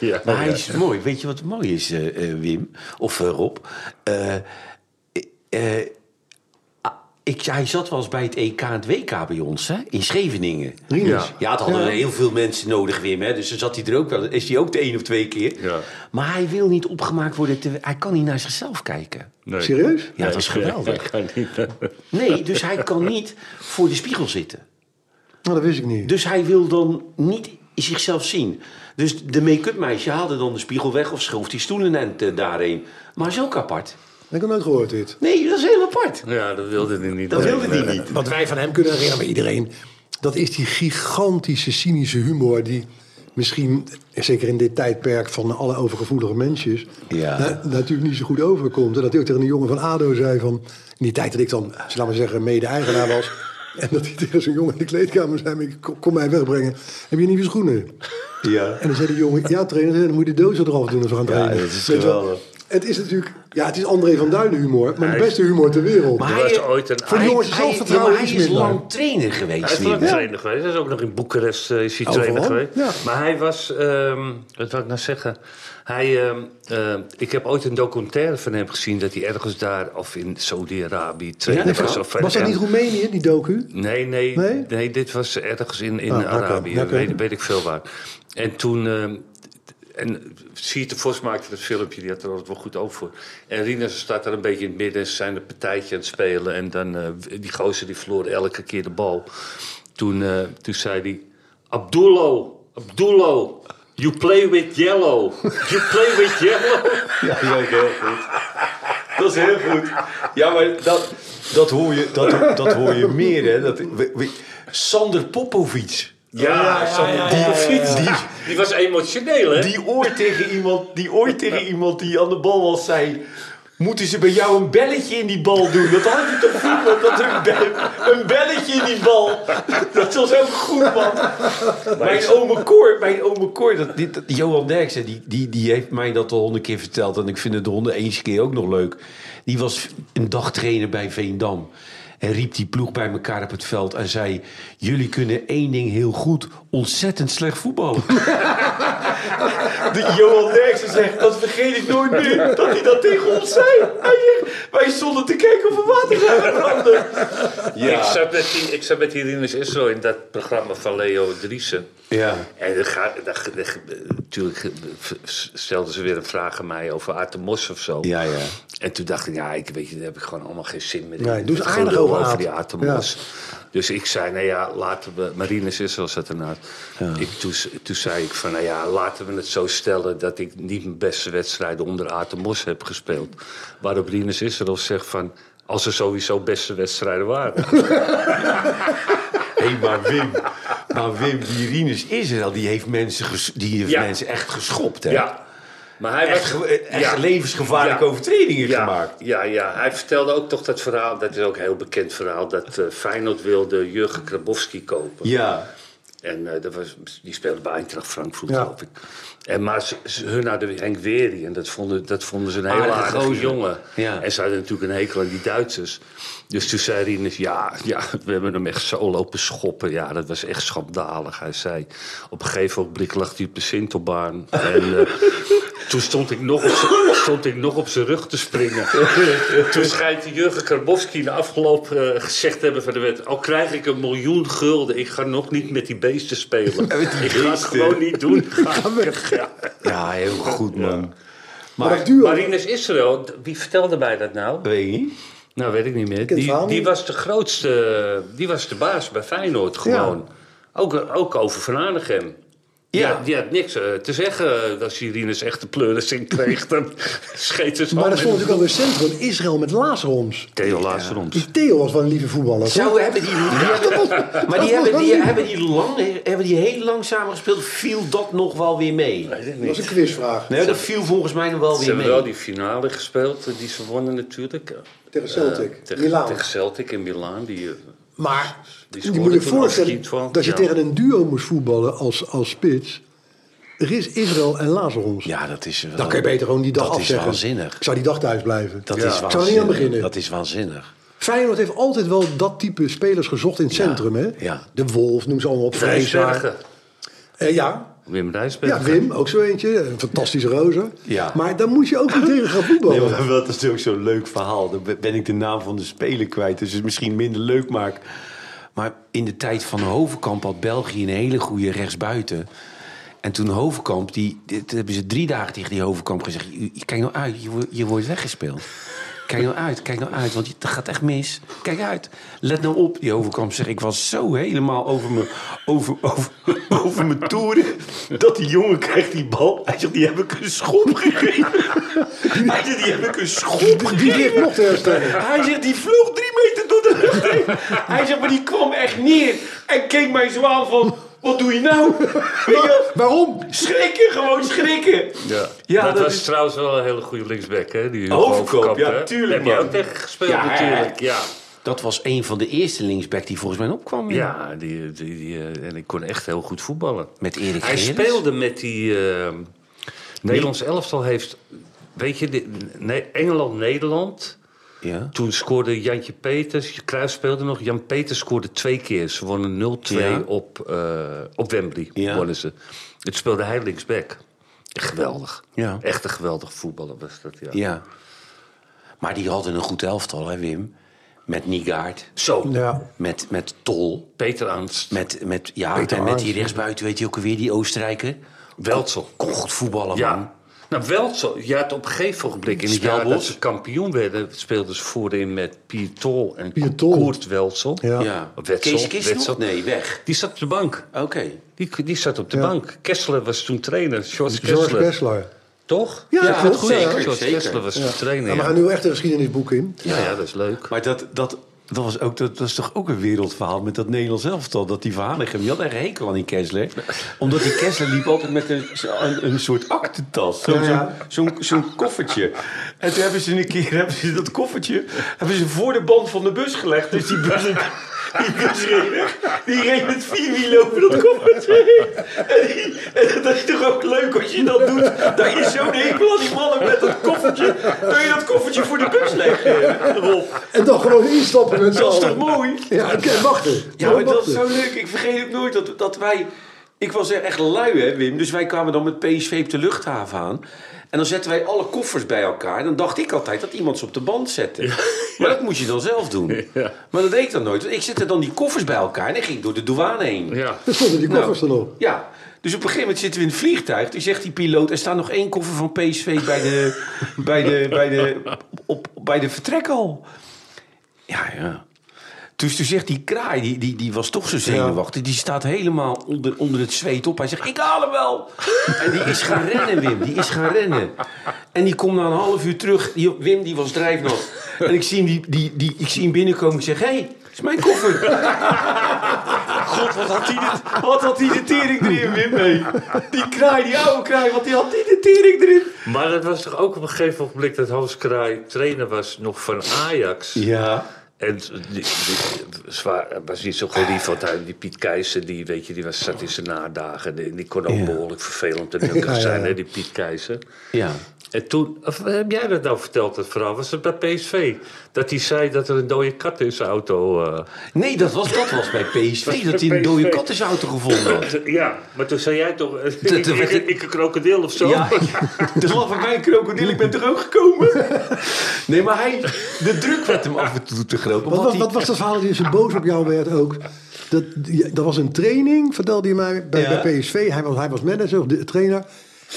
Speaker 4: ja.
Speaker 3: Maar hij is mooi. Weet je wat mooi is, eh, eh, Wim? Of eh, Rob? Eh, eh, ah, ik, hij zat wel eens bij het EK en het WK bij ons, hè? In Scheveningen. Dus,
Speaker 2: Rinus.
Speaker 3: Ja, het hadden
Speaker 2: Ja.
Speaker 3: heel veel mensen nodig, Wim. Hè? Dus dan zat hij er ook wel. Is hij ook de één of twee keer.
Speaker 4: Ja.
Speaker 3: Maar hij wil niet opgemaakt worden. te- hij kan niet naar zichzelf kijken.
Speaker 4: Nee.
Speaker 2: Serieus?
Speaker 3: Ja, dat is geweldig.
Speaker 4: Dat kan niet. eh,
Speaker 3: Nee, dus hij kan niet voor de spiegel zitten.
Speaker 2: Nou, dat wist ik niet.
Speaker 3: Dus hij wil dan niet zichzelf zien. Dus de make-up meisje haalde dan de spiegel weg of schoof die stoelen en daarheen. Maar zo ook apart.
Speaker 2: Ik heb nooit gehoord dit.
Speaker 3: Nee, dat is heel apart.
Speaker 4: Ja, dat wilde hij niet.
Speaker 3: Dat
Speaker 4: Nee,
Speaker 3: wilde hij
Speaker 4: nee.
Speaker 3: niet.
Speaker 2: Wat wij van hem kunnen herinneren bij iedereen... dat is die gigantische cynische humor die misschien... zeker in dit tijdperk van alle overgevoelige mensjes...
Speaker 3: Ja.
Speaker 2: na- natuurlijk niet zo goed overkomt. En dat hij ook tegen een jongen van ADO zei van... in die tijd dat ik dan, laten we zeggen, mede-eigenaar was... en dat hij tegen zo'n jongen in de kleedkamer zei... "Mick, kom- kom mij wegbrengen, heb je nieuwe schoenen?
Speaker 3: Ja.
Speaker 2: En dan zei die jongen, ja trainer, dan moet je de dozen eraf doen als we gaan trainen.
Speaker 3: dat is
Speaker 2: Weet je wel?
Speaker 3: geweldig.
Speaker 2: Het is natuurlijk, ja, het is André van Duinen humor, maar de beste humor ter wereld.
Speaker 3: Maar
Speaker 4: Er
Speaker 3: hij-
Speaker 4: was ooit een...
Speaker 2: Voor die jongens
Speaker 3: Hij-
Speaker 2: zelfvertrouwen
Speaker 3: ja, maar hij
Speaker 2: is
Speaker 3: is
Speaker 2: minder.
Speaker 3: lang trainer geweest.
Speaker 4: Hij is wel
Speaker 3: Wim.
Speaker 4: trainer geweest. Hij is ook nog in Boekarest eh, is hij
Speaker 2: Overal,
Speaker 4: trainer geweest.
Speaker 2: ja.
Speaker 4: Maar hij was, ehm, wat wil ik nou zeggen? Hij, ehm, ehm, ik heb ooit een documentaire van hem gezien dat hij ergens daar, of in Saudi-Arabië, trainer
Speaker 3: Ja, dat
Speaker 4: was.
Speaker 3: kan.
Speaker 4: Of,
Speaker 2: Was dat
Speaker 4: en-
Speaker 2: niet Roemenië, die docu?
Speaker 4: Nee, nee,
Speaker 2: Nee?
Speaker 4: nee, dit was ergens in, in
Speaker 2: Ah, oké,
Speaker 4: Arabië,
Speaker 2: oké.
Speaker 4: Weet, weet ik veel waar. En toen, ehm en Siert de Vos maakte dat filmpje, die had er altijd wel goed over voor. En Rina ze staat daar een beetje in het midden, ze zijn een partijtje aan het spelen. En dan, eh, die gozer die verloor elke keer de bal. Toen, eh, toen zei hij, Abdullo, Abdullo, you play with yellow, you play with yellow.
Speaker 3: Ja, die ook heel goed. Dat is heel goed. Ja, maar dat, dat, hoor, je, dat, dat hoor je meer, hè. Dat, we- we- Sander Popovic.
Speaker 4: Ja, zo-
Speaker 3: Die, die,
Speaker 4: die was emotioneel, hè?
Speaker 3: die ooit tegen iemand, die ooit tegen iemand die aan de bal was, zei. Moeten ze bij jou een belletje in die bal doen? Dat had ik toch voetbal, dat er een, be- een belletje in die bal. Dat was ook goed, man. Mijn ome Cor, mijn ome Cor, dat, dit, dat- Johan Derksen, die, die, die heeft mij dat al honderd keer verteld. En ik vind het de honderd eens keer ook nog leuk. Die was een dagtrainer bij Veendam. En riep die ploeg bij elkaar op het veld en zei... jullie kunnen één ding heel goed, ontzettend slecht voetballen. De Johan Derksen zegt, dat vergeet ik nooit meer, dat hij dat tegen ons zei. Hij zegt, wij stonden te kijken of we water zouden branden.
Speaker 4: Ik, zat met die, ik zat met die Rinus Israël in dat programma van Leo Driessen.
Speaker 3: Ja.
Speaker 4: En dan ga- dan- dan- natuurlijk stelden ze weer een vraag aan mij over Aad de Mos of zo.
Speaker 3: Ja, ja.
Speaker 4: En toen dacht ik, ja, ik weet je, daar heb ik gewoon allemaal geen zin meer in.
Speaker 2: Nee, doe eens
Speaker 4: Het
Speaker 2: aardig
Speaker 4: gelul
Speaker 2: over Aad.
Speaker 4: die Aad de
Speaker 2: Ja.
Speaker 4: Mos. Dus ik zei, nou ja, laten we... Marines Israël zat ernaast. Ik, toen, toen zei ik van, nou ja, laten we het zo stellen... dat ik niet mijn beste wedstrijden onder Aad de Mos heb gespeeld. Waarop Rinus Israël zegt van... Als er sowieso beste wedstrijden waren.
Speaker 3: Hé, maar Wim, maar Wim, die Rinus Israël, die heeft mensen, ges- die heeft
Speaker 4: Ja.
Speaker 3: mensen echt geschopt, hè?
Speaker 4: Ja. Maar hij
Speaker 3: Echt,
Speaker 4: was
Speaker 3: ge- echt
Speaker 4: ja.
Speaker 3: levensgevaarlijke
Speaker 4: Ja.
Speaker 3: overtredingen
Speaker 4: ja,
Speaker 3: gemaakt.
Speaker 4: Ja, ja, hij vertelde ook toch dat verhaal, dat is ook een heel bekend verhaal, dat eh, Feyenoord wilde Jurgen Krabowski kopen.
Speaker 3: Ja.
Speaker 4: En eh, dat was, die speelde bij Eintracht Frankfurt,
Speaker 2: Ja.
Speaker 4: geloof ik. En, maar ze, ze- hun hadden Henk Wery en dat vonden, dat vonden ze een hele
Speaker 3: Aardige
Speaker 4: aardige
Speaker 3: gozer.
Speaker 4: jongen.
Speaker 3: Ja.
Speaker 4: En ze hadden natuurlijk een hekel aan die Duitsers. Dus toen zei Rinus, ja, ja, we hebben hem echt zo lopen schoppen. Ja, dat was echt schandalig. Hij zei, op een gegeven ogenblik lag hij op de Sintelbaan. En eh, toen stond ik, nog op z'n- stond ik nog op zijn rug te springen. toen schijnt Jurgen Karbowski na afgelopen eh, gezegd te hebben van de wet... al krijg ik een miljoen gulden, ik ga nog niet met die beesten spelen. ik ga het
Speaker 3: beesten.
Speaker 4: gewoon niet doen. Ja.
Speaker 3: Ja, heel goed, man.
Speaker 2: Maar, dat duo,
Speaker 4: Marines Israël, wie vertelde mij dat nou?
Speaker 3: Weet je niet?
Speaker 4: Nou, weet ik niet meer.
Speaker 2: het verhaal
Speaker 4: Die, die
Speaker 2: niet.
Speaker 4: was de grootste, die was de baas bij Feyenoord gewoon. Ook, ook over Van Aanegem.
Speaker 3: Ja.
Speaker 4: Ja. Die, had, die had niks eh, te zeggen als Irinus echt de pleuris in kreeg. Dan scheet het
Speaker 2: maar
Speaker 4: op.
Speaker 2: dat
Speaker 3: Oh,
Speaker 2: stond natuurlijk alweer centrum. Israël met Lazaroms.
Speaker 4: Theo Lazarons.
Speaker 2: Die Theo was wel een lieve voetballer. toch?
Speaker 3: Zo hebben die...
Speaker 2: Dat was-
Speaker 3: Maar
Speaker 2: dat was
Speaker 3: die hebben
Speaker 2: wel
Speaker 3: die,
Speaker 2: lief.
Speaker 3: hebben, die lang, hebben die heel langzaam gespeeld. Viel dat nog wel weer mee?
Speaker 2: Dat was een quizvraag.
Speaker 3: Nee, dat viel volgens mij nog wel
Speaker 4: Ze
Speaker 3: weer
Speaker 4: hebben wel
Speaker 3: mee.
Speaker 4: die finale gespeeld, eh, die ze wonnen natuurlijk. eh,
Speaker 2: Tegen Celtic.
Speaker 4: tegen,
Speaker 2: Milaan.
Speaker 4: tegen Celtic in Milaan. Die, eh,
Speaker 2: Maar
Speaker 4: Die
Speaker 2: je
Speaker 4: scoorde
Speaker 2: moet je
Speaker 4: toen
Speaker 2: voorstellen
Speaker 4: ook Schietval.
Speaker 2: dat je
Speaker 4: Ja.
Speaker 2: tegen een duo moest voetballen als, als spits. Er is Israël en Lazarus.
Speaker 3: Ja, dat is wel...
Speaker 2: Dan kan je beter gewoon die dag
Speaker 3: Dat is
Speaker 2: afzeggen.
Speaker 3: waanzinnig.
Speaker 2: Ik zou die dag thuis blijven.
Speaker 3: Dat
Speaker 4: Ja.
Speaker 3: is
Speaker 2: Ik zou er niet aan
Speaker 3: waanzinnig.
Speaker 2: beginnen.
Speaker 3: Dat is waanzinnig.
Speaker 2: Feyenoord heeft altijd wel dat type spelers gezocht in het centrum. Hè?
Speaker 3: ja.
Speaker 2: De Wolf, noem ze allemaal op. Vreesaar.
Speaker 4: Rijsbergen.
Speaker 2: Eh, ja.
Speaker 4: Wim
Speaker 2: ja,
Speaker 4: Rijsbergen.
Speaker 2: Wim, ook zo eentje. Een fantastische roze.
Speaker 3: Ja.
Speaker 2: Maar daar moet je ook niet tegen gaan voetballen.
Speaker 3: Nee, maar dat is natuurlijk zo'n leuk verhaal. Dan ben ik de naam van de speler kwijt. Dus het misschien minder leuk maak. Maar in de tijd van Hovenkamp had België een hele goede rechtsbuiten. En toen Hovenkamp, die, dit hebben ze drie dagen tegen die Hovenkamp gezegd. "Je- je- Kijk nou uit, je, wo- je wordt weggespeeld. Kijk nou uit, kijk nou uit, want je- dat gaat echt mis. Kijk uit. Let nou op, die Hovenkamp zegt. Ik was zo helemaal over mijn, over, over, over mijn toeren. Dat die jongen krijgt die bal. Hij zegt, die heb ik een schop gegeven. Hij zegt, die heb ik een schop
Speaker 2: Die- Die ligt nog te herstellen.
Speaker 3: hij zegt, die vloog drie meter door de lucht heen. Hij zegt, maar die kwam echt neer. En keek mij zo aan van, wat doe je nou? Weet je wel?
Speaker 2: Waarom?
Speaker 3: Schrikken, gewoon schrikken.
Speaker 4: Ja.
Speaker 3: Ja,
Speaker 4: dat,
Speaker 3: dat
Speaker 4: was
Speaker 3: is-
Speaker 4: trouwens wel een hele goede linksback, hè? Die
Speaker 3: Hoofdkamp, ja,
Speaker 4: hè?
Speaker 3: tuurlijk,
Speaker 4: Daar Heb je
Speaker 3: man.
Speaker 4: ook tegen gespeeld
Speaker 3: Ja,
Speaker 4: natuurlijk. Ja,
Speaker 3: Dat was een van de eerste linksback die volgens mij opkwam.
Speaker 4: ja die, die, die, eh, en ik kon echt heel goed voetballen.
Speaker 3: Met Erik
Speaker 4: Hij
Speaker 3: Gerrits.
Speaker 4: speelde met die... eh, Nederlands elftal heeft... Weet je, de- nee, Engeland-Nederland...
Speaker 3: Ja.
Speaker 4: Toen scoorde Jantje Peters, Cruijff speelde nog. Jan Peters scoorde twee keer. Ze wonnen 0-2
Speaker 3: Ja.
Speaker 4: op, eh, op Wembley.
Speaker 3: Ja.
Speaker 4: Wonnen ze. Het speelde hij linksback. Geweldig.
Speaker 3: Ja.
Speaker 4: Echt een geweldig voetballer was dat, ja.
Speaker 3: ja. Maar die hadden een goed elftal, hè Wim? Met Niegaard,
Speaker 4: Zo,
Speaker 2: Ja.
Speaker 3: met, met Tol,
Speaker 4: Peter Ernst.
Speaker 3: met, met, ja,
Speaker 2: Peter
Speaker 3: en met die
Speaker 2: Arndt.
Speaker 3: rechtsbuiten, weet je ook alweer, die Oostenrijker.
Speaker 4: Weltsel.
Speaker 3: Kon goed voetballen, man.
Speaker 4: Ja. Nou, Weltsel. Je had op een gegeven ogenblik in het jaar
Speaker 3: Spelbos.
Speaker 4: dat ze kampioen werden... speelden ze voorin met Pier Tol en
Speaker 2: Pier Tol.
Speaker 4: Koert Weltsel.
Speaker 2: Ja.
Speaker 3: Ja.
Speaker 4: Wetzel,
Speaker 3: Kees Kist nog?
Speaker 4: Wetzel.
Speaker 3: Nee, weg.
Speaker 4: Die zat op de bank.
Speaker 3: Oké.
Speaker 4: Die, die zat op de
Speaker 2: Ja.
Speaker 4: bank. Kessler was toen trainer. George
Speaker 2: George
Speaker 4: Kessler.
Speaker 2: Kessler.
Speaker 4: Toch?
Speaker 2: Ja,
Speaker 3: Ja,
Speaker 2: klopt.
Speaker 3: goed,
Speaker 2: ja.
Speaker 3: zeker.
Speaker 4: George Kessler was toen
Speaker 2: Ja,
Speaker 4: trainer.
Speaker 2: we
Speaker 4: Ja.
Speaker 2: gaan nu echt een geschiedenisboek in.
Speaker 4: Ja, ja, dat is leuk.
Speaker 3: Maar dat, dat, dat, was ook, dat was toch ook een wereldverhaal met dat Nederlands elftal. Dat die Verhanegem, die had echt hekel aan die Kessler. Omdat die Kessler liep altijd met een, een, een soort aktentas. Zo,
Speaker 2: Ja, ja.
Speaker 3: Zo'n zo'n- zo'n koffertje. En toen hebben ze een keer hebben ze dat koffertje hebben ze voor de band van de bus gelegd. Dus die bus...
Speaker 5: Die reed met vierwiel over dat koffertje heen. En, die- en dat is toch ook leuk als je dat doet. Dat je zo'n hekel aan die mannen met dat koffertje. Dat je dat koffertje voor de bus legt.
Speaker 3: eh,
Speaker 5: Rob.
Speaker 2: En dan gewoon instappen met z'n
Speaker 5: Dat is
Speaker 2: allen.
Speaker 5: toch mooi?
Speaker 2: Ja, oké, wachten.
Speaker 5: Ja, Oh. maar dat
Speaker 2: Wachten.
Speaker 5: is zo leuk. Ik vergeet ook nooit dat, dat wij... Ik was er echt lui, hè, Wim. Dus wij kwamen dan met PSV op de luchthaven aan. En dan zetten wij alle koffers bij elkaar. En dan dacht ik altijd dat iemand ze op de band zette. Maar dat moest je dan zelf doen.
Speaker 4: Ja.
Speaker 5: Maar dat deed ik dan nooit. Want ik zette dan die koffers bij elkaar en dan ging ik door de douane heen.
Speaker 4: Ja.
Speaker 2: Er stonden die koffers
Speaker 5: Nou,
Speaker 2: dan op.
Speaker 5: Ja. Dus op een gegeven moment zitten we in het vliegtuig. Toen zegt die piloot, er staat nog één koffer van PSV bij de, bij de, bij de, op, bij de vertrekhal. Ja, ja. Dus toen zegt die kraai, die, die, die was toch zo zenuwachtig. Die staat helemaal onder, onder het zweet op. Hij zegt, ik haal hem wel. En die is gaan rennen, Wim. Die is gaan rennen. En die komt na een half uur terug. Die, Wim, die was drijfnat. En ik zie hem, die, die, die, ik zie hem binnenkomen. Ik zeg, hé, hey, is mijn koffer. God, wat had hij dit, wat had hij de tering erin, Wim, mee. Die kraai, die oude kraai, wat die had die de tering erin.
Speaker 4: Maar dat was toch ook op een gegeven moment dat Hans Kraai trainer was nog van Ajax.
Speaker 5: Ja.
Speaker 4: En die, die- zwaar, was niet zo geliefd, want hij, die Piet Keizer, die, weet je, die was, zat in zijn nadagen. Die, die kon ook behoorlijk vervelend en nukkig
Speaker 2: Ja, ja,
Speaker 4: zijn,
Speaker 2: ja.
Speaker 4: hè, die Piet Keizer.
Speaker 5: Ja.
Speaker 4: En toen, of heb jij dat nou verteld, dat verhaal? Was het bij PSV? Dat hij zei dat er een dode kat in zijn auto... eh,
Speaker 5: Nee, dat was, dat was bij PSV. Dat hij een dode kat in zijn auto gevonden had.
Speaker 4: Ja, maar toen zei jij toch... eh,
Speaker 5: Toen-
Speaker 4: ik,
Speaker 5: toen
Speaker 4: ik,
Speaker 5: werd het-
Speaker 4: ik een krokodil of zo?
Speaker 5: Ja, ik- er lag bij mij een krokodil, ik ben er ook gekomen. Nee, maar hij, de druk werd hem af en toe te
Speaker 2: Wat,
Speaker 5: groot. omdat
Speaker 2: wat,
Speaker 5: hij-
Speaker 2: wat was dat verhaal dat je zo boos op jou werd ook? Dat, ja, dat was een training, vertelde hij mij, bij,
Speaker 5: Ja.
Speaker 2: bij PSV. Hij was, hij was manager of de trainer.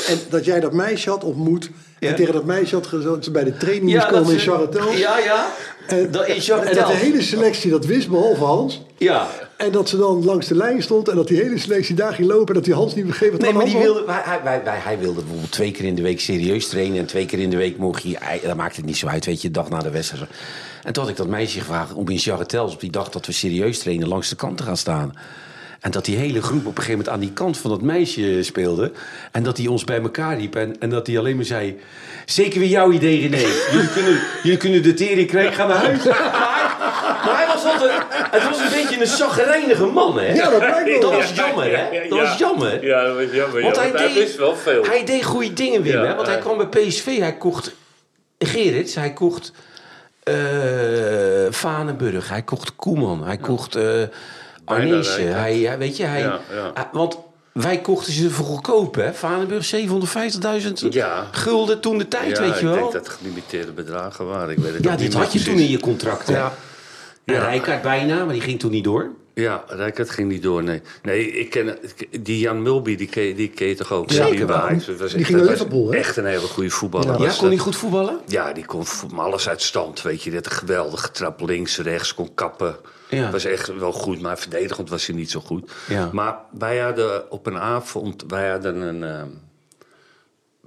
Speaker 2: En dat jij dat meisje had ontmoet.
Speaker 5: Ja.
Speaker 2: En tegen dat meisje had gezegd dat ze bij de training moest
Speaker 5: dat
Speaker 2: komen in
Speaker 5: ze-
Speaker 2: Charatel.
Speaker 5: Ja, ja.
Speaker 2: En,
Speaker 5: dat in
Speaker 2: en dat
Speaker 5: Charatel.
Speaker 2: de hele selectie dat wist, behalve Hans.
Speaker 5: Ja.
Speaker 2: En dat ze dan langs de lijn stond en dat die hele selectie daar ging lopen. En dat die Hans niet begreep wat er
Speaker 5: Nee, maar
Speaker 2: aan de
Speaker 5: die
Speaker 2: hand was.
Speaker 5: wilde, hij, hij, wij- wij- hij wilde bijvoorbeeld twee keer in de week serieus trainen. En twee keer in de week mocht hij... hij- Dat maakt het niet zo uit, weet je, de dag na de wedstrijd. En toen had ik dat meisje gevraagd om in Charretels... op die dag dat we serieus trainen langs de kant te gaan staan. En dat die hele groep op een gegeven moment aan die kant van dat meisje speelde. En dat die ons bij elkaar riep. En, en dat hij alleen maar zei... Zeker weer jouw idee, René. Jullie kunnen, jullie kunnen de tering krijgen, ga naar huis. Maar, maar hij was altijd... Het was een beetje een chagrijnige man, hè?
Speaker 2: Ja, dat blijkt wel.
Speaker 5: Dat was jammer, hè? Dat was jammer.
Speaker 4: Ja, dat was jammer.
Speaker 5: Want
Speaker 4: ja,
Speaker 5: hij,
Speaker 4: want hij
Speaker 5: deed,
Speaker 4: wist wel veel.
Speaker 5: hij deed goede dingen, Wim.
Speaker 4: Ja,
Speaker 5: hè? Want hij
Speaker 4: hij-
Speaker 5: kwam bij PSV. Hij kocht Gerrits. Hij kocht eh Vanenburg. Hij kocht Koeman. Hij kocht eh Arnezen.
Speaker 4: rijk, hè?
Speaker 5: Hij, hij, weet je, hij,
Speaker 4: Ja, ja.
Speaker 5: hij- want wij kochten ze voor goedkoop, hè? Vanenburg 750.000
Speaker 4: Ja.
Speaker 5: gulden toen de tijd,
Speaker 4: ja,
Speaker 5: weet je
Speaker 4: ik
Speaker 5: wel.
Speaker 4: denk dat het gelimiteerde bedragen waren. Ik weet het
Speaker 5: ja,
Speaker 4: ook
Speaker 5: dit
Speaker 4: niet
Speaker 5: had
Speaker 4: meer
Speaker 5: je
Speaker 4: precies.
Speaker 5: toen in je contract, hè? Ja.
Speaker 4: Ja.
Speaker 5: Rijkaard bijna, maar die ging toen niet door.
Speaker 4: Ja, Rijkaard ging niet door, nee. Nee, ik ken, ik- die Jan Mulby, die ken, die ken je toch ook?
Speaker 5: Zeker
Speaker 4: Die
Speaker 5: wel.
Speaker 4: bij Ajax was
Speaker 2: Die
Speaker 4: echt-
Speaker 2: ging naar
Speaker 4: dat was
Speaker 2: Liverpool, hè?
Speaker 4: Echt een hele goede voetballer.
Speaker 2: Ja,
Speaker 4: was
Speaker 5: Ja, kon
Speaker 4: dat.
Speaker 5: hij goed voetballen?
Speaker 4: Ja, die kon van alles uit stand, weet je. Dat een geweldige trap links, rechts, kon kappen.
Speaker 5: Ja.
Speaker 4: Was echt wel goed, maar verdedigend was hij niet zo goed.
Speaker 5: Ja.
Speaker 4: Maar wij hadden op een avond, wij hadden een ehm,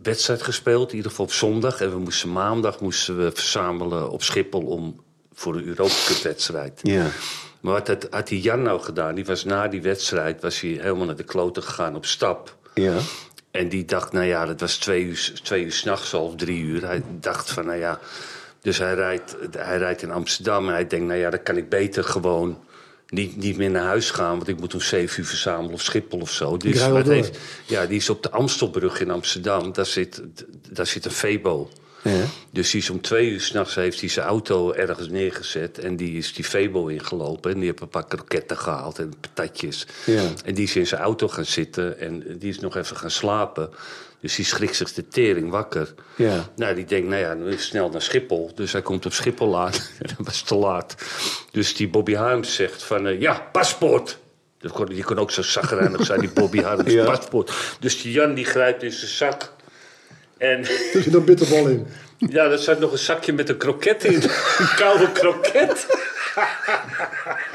Speaker 4: wedstrijd gespeeld, in ieder geval op zondag. En we moesten maandag moesten we verzamelen op Schiphol om voor de Europa Cup wedstrijd.
Speaker 5: Ja.
Speaker 4: Maar wat had, had die Jan nou gedaan? Die was na die wedstrijd was hij helemaal naar de kloten gegaan op stap.
Speaker 5: Ja.
Speaker 4: En die dacht, nou ja, dat was twee uur, twee uur s'nachts al, of drie uur. Hij dacht van, nou ja... Dus hij rijdt, hij rijdt in Amsterdam en hij denkt, nou ja, dan kan ik beter gewoon... Niet, niet meer naar huis gaan, want ik moet om zeven uur verzamelen of Schiphol of zo. Dus
Speaker 2: rij wel
Speaker 4: wat
Speaker 2: door.
Speaker 4: heeft, ja, die is op de Amstelbrug in Amsterdam. Daar zit, daar zit een Febo.
Speaker 5: Ja.
Speaker 4: Dus die is om twee uur s'nachts heeft hij zijn auto ergens neergezet. En die is die Febo ingelopen. En die heeft een paar kroketten gehaald en patatjes.
Speaker 5: Ja.
Speaker 4: En die is in zijn auto gaan zitten. En die is nog even gaan slapen. Dus die schrikt zich de tering wakker.
Speaker 5: Ja.
Speaker 4: Nou, die denkt, nou ja, dan is snel naar Schiphol. Dus hij komt op Schiphol aan. en dat was te laat. Dus die Bobby Harms zegt van, eh, ja, paspoort. Dat kon, die kon ook zo zagrijnig zijn, die Bobby Harms,
Speaker 5: Ja.
Speaker 4: paspoort. Dus die Jan die grijpt in zijn zak. En
Speaker 2: Dus je dan bitterbal in.
Speaker 4: ja, er zat nog een zakje met een kroket in. Een koude kroket.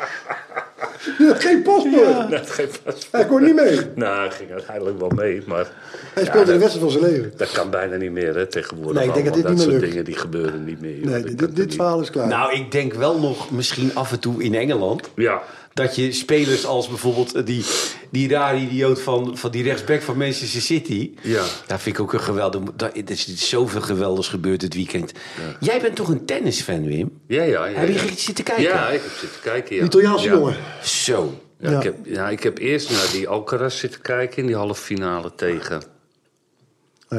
Speaker 2: Je had geen paspoort.
Speaker 4: Dat geeft pas.
Speaker 2: Hij kon niet mee.
Speaker 4: Nou, hij ging uiteindelijk wel mee, maar
Speaker 2: Hij speelde de wedstrijd van zijn leven.
Speaker 4: dat kan bijna niet meer hè, tegenwoordig.
Speaker 2: Nee, ik denk dat
Speaker 4: allemaal.
Speaker 2: dit niet meer
Speaker 4: soort
Speaker 2: lukt.
Speaker 4: dingen die gebeuren niet meer. joh.
Speaker 2: Nee,
Speaker 4: Dat
Speaker 2: dit,
Speaker 4: kan
Speaker 2: dit,
Speaker 4: toch
Speaker 2: verhaal is klaar.
Speaker 5: Nou, ik denk wel nog misschien af en toe in Engeland.
Speaker 4: niet. Ja,
Speaker 5: Dat je spelers als bijvoorbeeld eh, die, die rare idioot van, van die rechtsback van Manchester City.
Speaker 4: Ja.
Speaker 5: Dat vind ik ook een geweldig. dat- Er is zoveel geweldigs gebeurd dit weekend. Jij bent toch een tennisfan, Wim?
Speaker 4: Ja, ja, ja.
Speaker 5: Heb je
Speaker 4: ja.
Speaker 5: zitten kijken?
Speaker 4: Ja, ik heb zitten kijken, ja.
Speaker 2: Die Italiaanse
Speaker 4: Ja.
Speaker 2: jongen.
Speaker 5: Zo.
Speaker 4: Ja,
Speaker 2: Ja.
Speaker 4: Ik, heb, ja, ik heb eerst naar die Alcaraz zitten kijken in die halve finale tegen...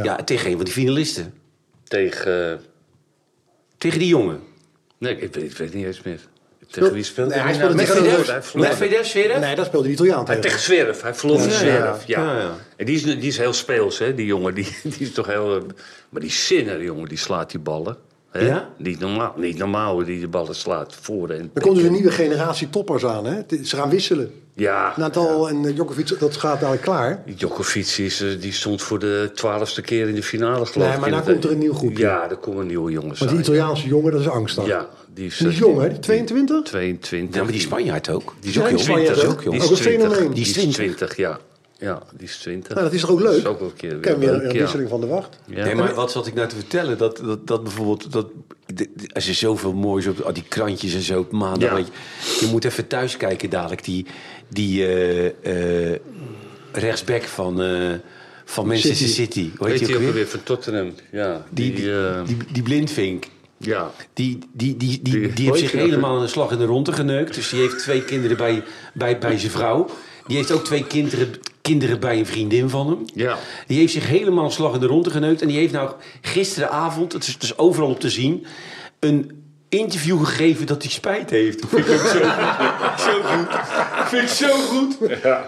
Speaker 5: Ja. tegen een van die finalisten.
Speaker 4: Tegen...
Speaker 5: Tegen die jongen.
Speaker 4: Nee, ik weet, ik weet niet eens meer. Tegen wie speelde
Speaker 2: Nee, hij
Speaker 4: nou?
Speaker 2: speelde tegen
Speaker 4: Medvedev.
Speaker 2: Rus.
Speaker 4: Hij verloor.
Speaker 5: Medvedev, Zverev?
Speaker 2: Nee, dat speelde die Italiaan
Speaker 4: Hij
Speaker 2: tegen.
Speaker 4: tegen Zverev. Hij verloor van
Speaker 5: Ja,
Speaker 4: Zverev, ja.
Speaker 5: ja. Ja, ja.
Speaker 4: En die is, die is heel speels, hè, die jongen. Die, die is toch heel... eh, Maar die Sinner, jongen, die slaat die ballen. Hè?
Speaker 5: Ja?
Speaker 4: Niet normaal, niet normaal hoe die de ballen slaat. Voor en
Speaker 2: Er komt dus een nieuwe generatie toppers aan. Hè? Het- Ze gaan wisselen.
Speaker 4: Ja.
Speaker 2: Nadal en eh, Djokovic, dat gaat dadelijk klaar.
Speaker 4: Djokovic is, eh, die stond voor de twaalfste keer in de finale, geloof
Speaker 2: Nee,
Speaker 4: ik.
Speaker 2: maar
Speaker 4: in
Speaker 2: daar
Speaker 4: het-
Speaker 2: komt er een nieuw groepje.
Speaker 4: Ja, daar komt een nieuwe jongen
Speaker 2: Want die
Speaker 4: aan, ja.
Speaker 2: Italiaanse jongen, dat is angst dan.
Speaker 4: Ja, die is, eh,
Speaker 2: Die is jong, hè? Die 22?
Speaker 4: 22.
Speaker 5: Ja, maar die Spanjaard ook. Die is
Speaker 2: Ja,
Speaker 5: ook
Speaker 2: die
Speaker 5: jong.
Speaker 2: Spanjaard
Speaker 5: Die is
Speaker 2: ook.
Speaker 5: ook jong.
Speaker 2: Ook een fenomeen.
Speaker 4: Die is
Speaker 5: Die is
Speaker 4: 20, ja. Ja, die is 20.
Speaker 2: Nou, dat is toch ook leuk?
Speaker 4: Dat is ook wel een keer weer
Speaker 2: Ken weer
Speaker 4: leuk,
Speaker 2: een
Speaker 4: ja.
Speaker 2: wisseling van de wacht.
Speaker 4: Ja.
Speaker 5: Nee, maar wat zat ik nou te vertellen? Dat, dat, dat bijvoorbeeld, dat, de- de- als je zoveel moois op al die krantjes en zo op maandag.
Speaker 4: Ja.
Speaker 5: weet Je, je moet even thuis kijken dadelijk. Die, die eh, eh, rechtsback van, eh, van Manchester City. Hoe heet
Speaker 4: Weet
Speaker 5: die
Speaker 4: je
Speaker 5: ook
Speaker 4: ook
Speaker 5: weer?
Speaker 4: weer van Tottenham? Ja,
Speaker 5: Die,
Speaker 4: die,
Speaker 5: die,
Speaker 4: eh,
Speaker 5: die, die blindvink.
Speaker 4: ja.
Speaker 5: Die, die, die, die,
Speaker 4: Die-
Speaker 5: die, heeft zich
Speaker 4: Weet je dat-
Speaker 5: helemaal aan de slag in de ronde geneukt. Dus die heeft twee kinderen bij, bij, bij zijn vrouw. Die heeft ook twee kinderen, kinderen bij een vriendin van hem.
Speaker 4: Ja.
Speaker 5: Die heeft zich helemaal een slag in de ronde geneukt. En die heeft nou gisteravond, het is, het is overal op te zien, een interview gegeven dat hij spijt heeft. Vind ik ook zo, zo goed. Vind ik zo goed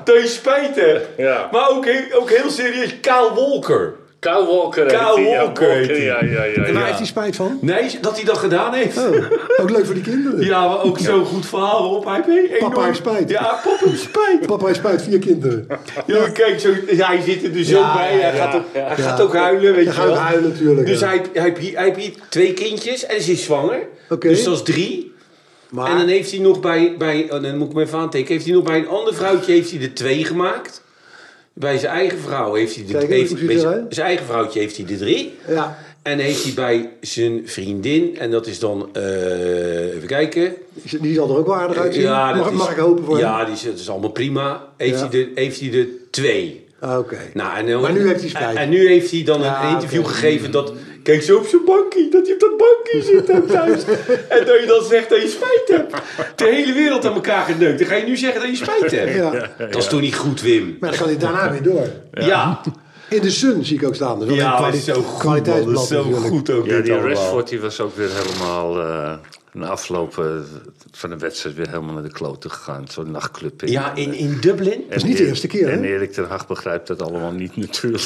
Speaker 5: dat je spijt hebt.
Speaker 4: Ja.
Speaker 5: Maar ook, he- ook heel serieus, Kyle Walker.
Speaker 4: Kyle Walker. heet
Speaker 5: Kyle
Speaker 4: die, ja,
Speaker 5: Walker heet die.
Speaker 4: Ja, ja, ja.
Speaker 2: En waar
Speaker 4: ja.
Speaker 2: heeft hij spijt van?
Speaker 5: Nee, dat hij dat gedaan heeft.
Speaker 2: Oh, ook leuk voor die kinderen.
Speaker 5: Ja, maar ook zo'n goed verhaal op. Hij heeft een
Speaker 2: Papa
Speaker 5: enorm-
Speaker 2: heeft spijt.
Speaker 5: Ja, papa heeft spijt.
Speaker 2: Papa heeft spijt, vier kinderen.
Speaker 5: Ja, maar kijk, zo, hij zit er dus
Speaker 2: Ja,
Speaker 5: ook bij. Hij,
Speaker 2: ja,
Speaker 5: gaat, ook, hij
Speaker 2: Ja.
Speaker 5: gaat ook huilen, weet
Speaker 2: Hij
Speaker 5: je
Speaker 2: gaat
Speaker 5: wel.
Speaker 2: ook huilen, natuurlijk,
Speaker 5: Dus
Speaker 2: ja.
Speaker 5: hij, hij, heeft hier- hij heeft hier twee kindjes en ze is zwanger.
Speaker 2: Oké.
Speaker 5: Dus dat is drie.
Speaker 2: Maar
Speaker 5: En dan heeft hij nog bij, bij oh, dan moet ik hem even aantekenen, heeft hij nog bij een ander vrouwtje heeft hij er twee gemaakt. Bij zijn eigen vrouw heeft hij de
Speaker 2: Kijk,
Speaker 5: heeft-
Speaker 2: hoe ziet
Speaker 5: bij
Speaker 2: het
Speaker 5: zijn,
Speaker 2: eruit?
Speaker 5: zijn eigen vrouwtje heeft hij de drie.
Speaker 2: Ja.
Speaker 5: En heeft hij bij zijn vriendin, en dat is dan, eh, even kijken,
Speaker 2: die zal er ook wel aardig uitzien.
Speaker 5: ja, dat
Speaker 2: mag,
Speaker 5: is-
Speaker 2: mag ik hopen voor
Speaker 5: Ja, die is, dat is allemaal prima. Heeft,
Speaker 2: Ja.
Speaker 5: hij er, heeft hij er twee?
Speaker 2: hem? Ah, Oké.
Speaker 5: Nou, en dan-
Speaker 2: Maar nu heeft hij spijt.
Speaker 5: En, en nu heeft hij dan
Speaker 2: Ja,
Speaker 5: een interview
Speaker 2: oké.
Speaker 5: gegeven dat... Kijk zo op zijn bankje, dat hij op dat bankje zit daar thuis. en dat je dan zegt dat je spijt hebt. De hele wereld aan elkaar geneukt. Dan ga je nu zeggen dat je spijt hebt.
Speaker 2: Ja.
Speaker 5: Dat is toch niet goed, Wim?
Speaker 2: Maar dan kan hij daarna weer door.
Speaker 5: Ja, ja.
Speaker 2: In de Sun zie ik ook staan. Dus wel een
Speaker 5: dat
Speaker 2: kwali-
Speaker 5: is zo goed, man. Dat
Speaker 2: kwaliteitsblad
Speaker 5: is zo
Speaker 2: natuurlijk.
Speaker 5: goed ook
Speaker 4: Ja,
Speaker 5: dit
Speaker 4: die
Speaker 5: allemaal.
Speaker 4: Rashford die was ook weer helemaal... eh na afloop eh, van de wedstrijd weer helemaal naar de klote gegaan. Zo'n nachtclub.
Speaker 5: Ja, in, in Dublin?
Speaker 4: Dat
Speaker 2: is niet de eerste keer, hè?
Speaker 4: En Erik ten Hag begrijpt dat allemaal niet natuurlijk.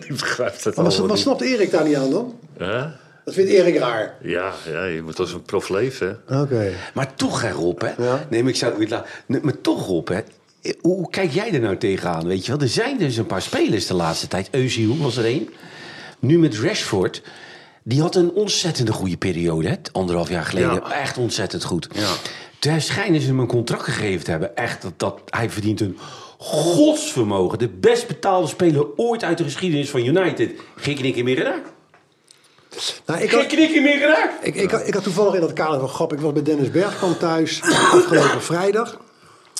Speaker 4: Die begrijpt dat
Speaker 2: Maar wat,
Speaker 4: allemaal
Speaker 2: wat snapt Erik daar niet aan dan?
Speaker 4: niet. Hè?
Speaker 2: Dat vindt Erik raar.
Speaker 4: Ja, ja, je moet als een prof leven. hè.
Speaker 2: Oké.
Speaker 5: Maar toch, hè, Rob, hè?
Speaker 2: Ja.
Speaker 5: Nee, maar ik zou het niet laten. Nee, maar toch, Rob, hè? Eh, Hoe, hoe kijk jij er nou tegenaan? Weet je wel, er zijn dus een paar spelers de laatste tijd. Eusiel was er één. Nu met Rashford. Die had een ontzettende goede periode, hè? Anderhalf jaar geleden.
Speaker 4: Ja.
Speaker 5: Echt ontzettend goed.
Speaker 4: Ja.
Speaker 5: Daar schijnen ze hem een contract gegeven te hebben. Echt, dat, dat, hij verdient een godsvermogen. De best betaalde speler ooit uit de geschiedenis van United. Geen knikken meer geraakt.
Speaker 2: Nou, ik,
Speaker 5: Geen
Speaker 2: had,
Speaker 5: knikken meer geraakt.
Speaker 2: ik, ik, had- ik had toevallig in dat kader van grap... Ik was bij Dennis Bergkamp thuis afgelopen vrijdag.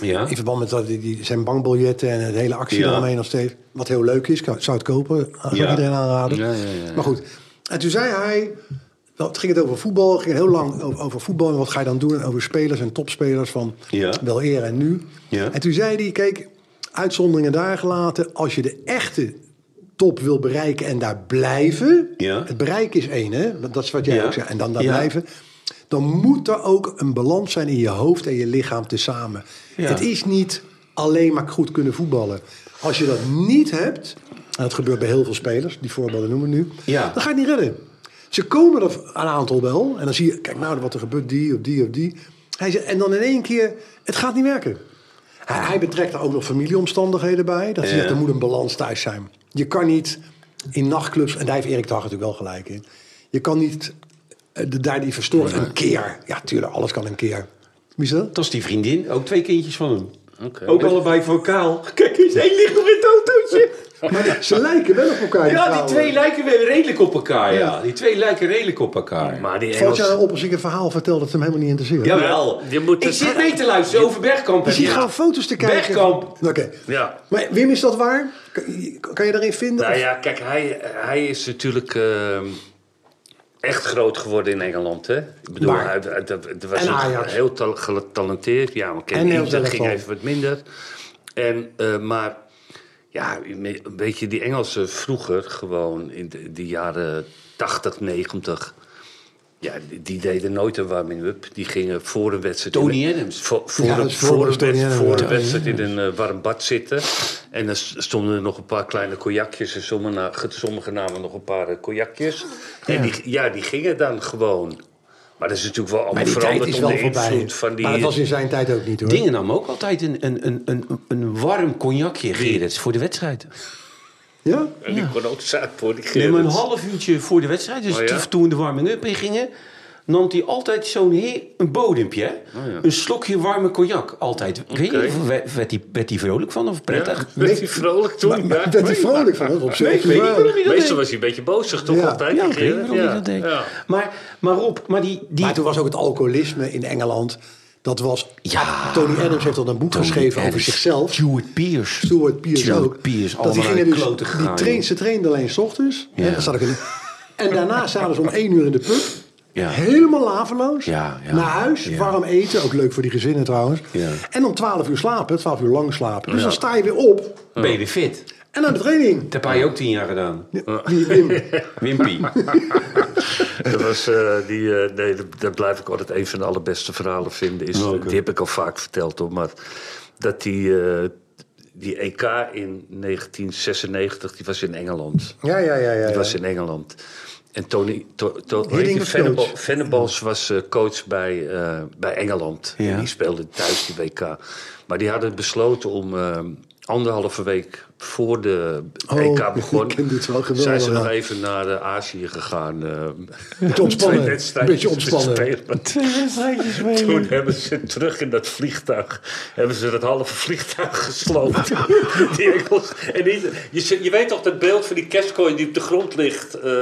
Speaker 5: Ja.
Speaker 2: In verband met dat, die, die- zijn bankbiljetten en het hele actie
Speaker 5: Ja.
Speaker 2: eromheen nog steeds. Wat heel leuk is, kan- zou het kopen. eh, Zou ik
Speaker 5: Ja.
Speaker 2: iedereen aanraden.
Speaker 4: Ja, ja, ja, ja.
Speaker 2: Maar goed. En toen zei hij... wel, Het ging het over voetbal, het ging heel lang over, over voetbal. En wat ga je dan doen? En over spelers en topspelers van
Speaker 5: Ja.
Speaker 2: wel eer en nu.
Speaker 5: Ja.
Speaker 2: En toen zei hij, kijk, uitzonderingen daar gelaten. Als je de echte top wil bereiken en daar blijven.
Speaker 5: Ja.
Speaker 2: Het bereik is één, hè? Want Dat is wat jij
Speaker 5: Ja.
Speaker 2: ook zegt. En dan daar
Speaker 5: Ja.
Speaker 2: blijven. Dan moet er ook een balans zijn in je hoofd en je lichaam tezamen.
Speaker 5: Ja.
Speaker 2: Het is niet alleen maar goed kunnen voetballen. Als je dat niet hebt, en dat gebeurt bij heel veel spelers, die voorbeelden noemen we nu,
Speaker 5: Ja.
Speaker 2: dan ga je het niet redden. Ze komen er een aantal wel, en dan zie je, kijk nou wat er gebeurt, die of die of die. Hij zegt, en dan in één keer, het gaat niet werken. Hij, hij betrekt er ook nog familieomstandigheden bij. Dat hij
Speaker 5: Ja.
Speaker 2: zegt, er moet een balans thuis zijn. Je kan niet in nachtclubs, en daar heeft Erik Dag natuurlijk wel gelijk in. Je kan niet eh, de- daar die verstoren. Een keer. Ja, tuurlijk, alles kan een keer. Wie is dat?
Speaker 5: Dat is die vriendin, ook twee kindjes van hem.
Speaker 4: Oké.
Speaker 5: Ook allebei voor kaal. Kijk eens, één ligt nog in het autootje.
Speaker 2: Maar ze lijken wel op elkaar.
Speaker 5: Ja, die
Speaker 2: vrouwen.
Speaker 5: twee lijken weer redelijk op elkaar. Ja.
Speaker 2: Ja.
Speaker 5: Die twee lijken redelijk op elkaar.
Speaker 4: Maar die
Speaker 2: Valt jou
Speaker 4: Engels...
Speaker 2: nou op als ik een verhaal vertel dat ze hem helemaal niet interesseert?
Speaker 5: Jawel.
Speaker 4: Je moet
Speaker 5: ik
Speaker 4: het-
Speaker 5: zit mee te luisteren over Bergkamp.
Speaker 2: Ik zie
Speaker 5: Ja.
Speaker 2: gewoon foto's te kijken.
Speaker 5: Bergkamp.
Speaker 2: Oké.
Speaker 4: Ja.
Speaker 2: Maar Wim, is dat waar? Kan, kan je daarin vinden?
Speaker 4: Nou
Speaker 2: Of-
Speaker 4: ja, kijk, hij, hij is natuurlijk eh, echt groot geworden in Engeland. Hè? Ik bedoel,
Speaker 2: Maar-
Speaker 4: hij, hij- dat- dat was
Speaker 2: En
Speaker 4: een-
Speaker 2: Ajax.
Speaker 4: heel tal- getalenteerd. Ja, maar
Speaker 2: En
Speaker 4: ken
Speaker 2: Nederlands
Speaker 4: dat ging
Speaker 2: elftal.
Speaker 4: even wat minder. En, eh, maar ja, een beetje die Engelsen vroeger, gewoon in de, die jaren 80, 90. Ja, die, die deden nooit een warming-up. Die gingen voor een wedstrijd...
Speaker 5: Tony Adams.
Speaker 4: Voor, voor,
Speaker 2: Ja,
Speaker 4: een-
Speaker 2: dat is
Speaker 4: voor,
Speaker 2: voor-
Speaker 4: een wed-
Speaker 2: Tony Adams,
Speaker 4: voor
Speaker 2: ja.
Speaker 4: een wedstrijd in een eh, warm bad zitten. En dan s- stonden er nog een paar kleine kojakjes. En sommigen, na- ge- sommigen namen nog een paar eh, kojakjes. En die, ja, die gingen dan gewoon. Maar dat is natuurlijk wel allemaal
Speaker 2: maar die tijd
Speaker 4: veranderd
Speaker 2: is
Speaker 4: onder
Speaker 2: wel
Speaker 4: de
Speaker 2: voorbij.
Speaker 4: invloed van die...
Speaker 2: Maar dat was in zijn tijd ook niet hoor.
Speaker 5: Dingen nam ook altijd een, een, een, een, een warm cognacje, Gerrits, voor de wedstrijd.
Speaker 2: Ja?
Speaker 4: en die kon ook zaad worden. die
Speaker 5: Nee, maar een
Speaker 4: Gerrits.
Speaker 5: half uurtje voor de wedstrijd, dus
Speaker 4: Oh, ja?
Speaker 5: toen de warming-up ingingen, nam hij altijd zo'n heer, een bodempje, hè?
Speaker 4: Oh, ja.
Speaker 5: een slokje warme cognac. Altijd. Ik Weet je,
Speaker 4: Oké.
Speaker 5: of werd- werd hij werd hij vrolijk van of prettig?
Speaker 4: Ja, werd hij vrolijk toen?
Speaker 2: Maar, maar
Speaker 4: Ja.
Speaker 2: werd hij vrolijk van het op zich?
Speaker 5: weet niet waarom hij dat
Speaker 4: Meestal
Speaker 5: deed.
Speaker 4: was hij een beetje bozig toch
Speaker 2: Ja.
Speaker 4: altijd?
Speaker 5: Ja,
Speaker 4: die
Speaker 5: ik weet niet
Speaker 4: Gerrit?
Speaker 5: waarom hij dat deed.
Speaker 4: Ja.
Speaker 5: Maar, maar Rob, maar die... die
Speaker 2: Maar toen was ook het alcoholisme in Engeland. Dat was.
Speaker 5: Ja.
Speaker 2: Tony Adams heeft al een boek
Speaker 5: Tony
Speaker 2: geschreven over
Speaker 5: Adams,
Speaker 2: zichzelf.
Speaker 5: Stuart Pierce.
Speaker 2: Stuart Pierce
Speaker 5: Stuart
Speaker 2: ook.
Speaker 5: Pierce,
Speaker 2: dat die
Speaker 5: allemaal
Speaker 2: gingen
Speaker 5: naar
Speaker 2: dus,
Speaker 5: de klote
Speaker 2: die
Speaker 5: gegaan,
Speaker 2: train,
Speaker 5: joh.
Speaker 2: ze trainden alleen s ochtends.
Speaker 5: Ja.
Speaker 2: Hè, dan zat ik in, en daarna zaten ze om één uur in de pub.
Speaker 5: Ja.
Speaker 2: Helemaal laveloos.
Speaker 5: Ja, ja.
Speaker 2: naar huis,
Speaker 5: Ja.
Speaker 2: warm eten. Ook leuk voor die gezinnen trouwens.
Speaker 5: Ja.
Speaker 2: En om twaalf uur slapen, twaalf uur lang slapen. Dus dan sta je weer op
Speaker 5: Ben je weer fit?
Speaker 2: en naar de training.
Speaker 5: Dat heb hij ook tien jaar gedaan.
Speaker 2: Die Wim.
Speaker 5: Wimpy.
Speaker 4: Dat was, eh, die, eh, nee, dat, dat blijf ik altijd een van de allerbeste verhalen vinden. Is, Die heb ik al vaak verteld hoor. Maar dat die, eh, die EK in 1996, die was in Engeland.
Speaker 2: Ja, ja, ja. ja,
Speaker 4: Die
Speaker 2: ja.
Speaker 4: was in Engeland. En Tony, to, to,
Speaker 2: Hiddink
Speaker 4: weet je,
Speaker 2: was
Speaker 4: Venable-
Speaker 2: coach.
Speaker 4: Venables was eh, coach bij, eh, bij Engeland.
Speaker 5: Ja.
Speaker 4: En die speelde thuis de WK. Maar die hadden besloten om eh, anderhalve week voor de
Speaker 2: Oh,
Speaker 4: EK begon...
Speaker 2: ik ken dit wel geweldig,
Speaker 4: zijn ze nog
Speaker 2: ja.
Speaker 4: even naar eh, Azië gegaan. eh,
Speaker 2: Om te
Speaker 4: twee
Speaker 2: ontspannen. Een
Speaker 4: wedstrijden
Speaker 2: beetje
Speaker 4: te
Speaker 2: ontspannen.
Speaker 4: spelen.
Speaker 5: Twee wedstrijdjes
Speaker 4: Toen hebben ze terug in dat vliegtuig, hebben ze dat halve vliegtuig gesloopt. die Engels. En die- je, zit- je weet toch dat beeld van die kerstkooi die op de grond ligt. eh,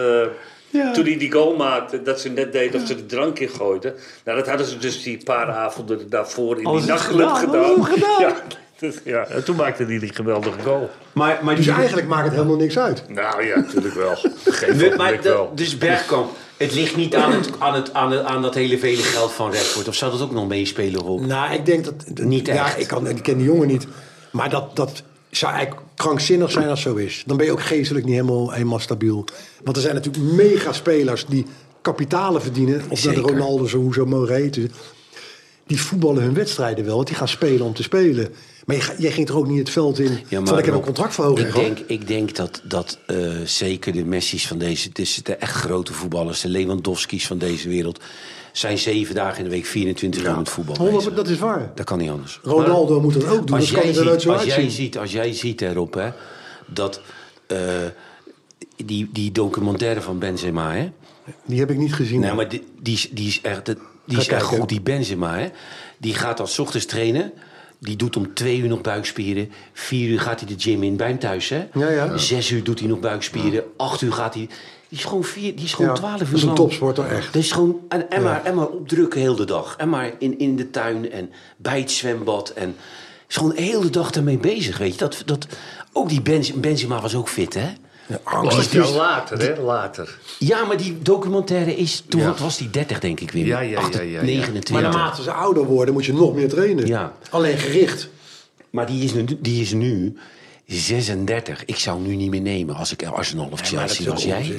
Speaker 5: Ja.
Speaker 4: Toen die die goal maakte, dat ze net deden of ze de drank in gooiden. Nou, dat hadden ze dus die paar avonden daarvoor in
Speaker 5: Hadden
Speaker 4: die
Speaker 5: ze het
Speaker 4: nachtclub
Speaker 5: gedaan?
Speaker 4: gedaan.
Speaker 5: Hadden ze het gedaan?
Speaker 4: Ja, dat- ja, en toen maakte die die geweldige goal.
Speaker 5: Maar, maar
Speaker 2: Dus
Speaker 5: die...
Speaker 2: eigenlijk maakt het helemaal niks uit.
Speaker 4: Nou ja, natuurlijk wel. Geen
Speaker 5: Nee,
Speaker 4: maar
Speaker 5: maar dat- dus Bergkamp, het ligt niet aan, het, aan, het, aan, het- aan dat hele vele geld van Redford. Of zou dat ook nog meespelen, Rob?
Speaker 2: Nou, ik denk dat... dat-
Speaker 5: Niet
Speaker 2: Ja,
Speaker 5: echt.
Speaker 2: ik, kan, ik ken die jongen niet. Maar dat, dat zou eigenlijk krankzinnig zijn als zo is. Dan ben je ook geestelijk niet helemaal, helemaal stabiel. Want er zijn natuurlijk mega spelers die kapitalen verdienen. Of dat de
Speaker 5: Zeker.
Speaker 2: Ronaldo's of hoe ze ook mogen heten. Die voetballen hun wedstrijden wel. Want die gaan spelen om te spelen. Maar je, ga- jij ging toch ook niet het veld in
Speaker 5: Ja, maar
Speaker 2: van ik heb een
Speaker 5: Rob,
Speaker 2: contractverhoging
Speaker 5: Ik
Speaker 2: gehad?
Speaker 5: denk, ik denk dat, dat eh, zeker de Messi's van deze... Dus de echt grote voetballers, de Lewandowski's van deze wereld... zijn zeven dagen in de week 24 uur met voetbal
Speaker 2: Honderd-
Speaker 5: bezig.
Speaker 2: dat is waar.
Speaker 5: Dat kan niet anders.
Speaker 2: Ronaldo moet dat ook doen.
Speaker 5: Als
Speaker 2: Dat Oh. Dus kan
Speaker 5: jij,
Speaker 2: hij er nooit
Speaker 5: ziet,
Speaker 2: zo
Speaker 5: als, jij
Speaker 2: uitzien.
Speaker 5: ziet, als jij ziet erop, hè, dat... eh, die, die documentaire van Benzema, hè?
Speaker 2: Die heb ik niet gezien.
Speaker 5: Nee, Nou, maar die, die, is- die is echt, die
Speaker 2: Ga
Speaker 5: is echt
Speaker 2: kijken.
Speaker 5: goed, die Benzema. Hè? Die gaat dan 's ochtends trainen. Die doet om twee uur nog buikspieren. Vier uur gaat hij de gym in bij hem thuis. Hè?
Speaker 2: Ja, ja.
Speaker 5: Zes uur doet hij nog buikspieren. Acht uur gaat hij... Die is gewoon, vier, die is gewoon
Speaker 2: Ja,
Speaker 5: twaalf uur
Speaker 2: dat is een
Speaker 5: lang.
Speaker 2: topsporter, echt.
Speaker 5: Dat is gewoon, en, en, maar, en maar opdrukken heel de dag. En maar in, in de tuin en bij het zwembad. En is gewoon heel de dag daarmee bezig. Weet je? Dat, dat, ook die Benz- Benzema was ook fit, hè?
Speaker 2: angst.
Speaker 5: Die- die-
Speaker 4: later, hè? Later.
Speaker 5: ja, maar die documentaire is... Toen
Speaker 4: Ja.
Speaker 5: wat was die 30, denk ik weer.
Speaker 4: Ja, ja, ja,
Speaker 5: 8,
Speaker 4: ja, ja.
Speaker 5: 29.
Speaker 2: Maar naarmate ze ouder worden, moet je nog meer trainen.
Speaker 5: Ja.
Speaker 2: Alleen gericht.
Speaker 5: Maar die is nu, die is nu 36. Ik zou hem nu niet meer nemen als ik Arsenal of
Speaker 2: Ja,
Speaker 5: Chelsea was. Jij?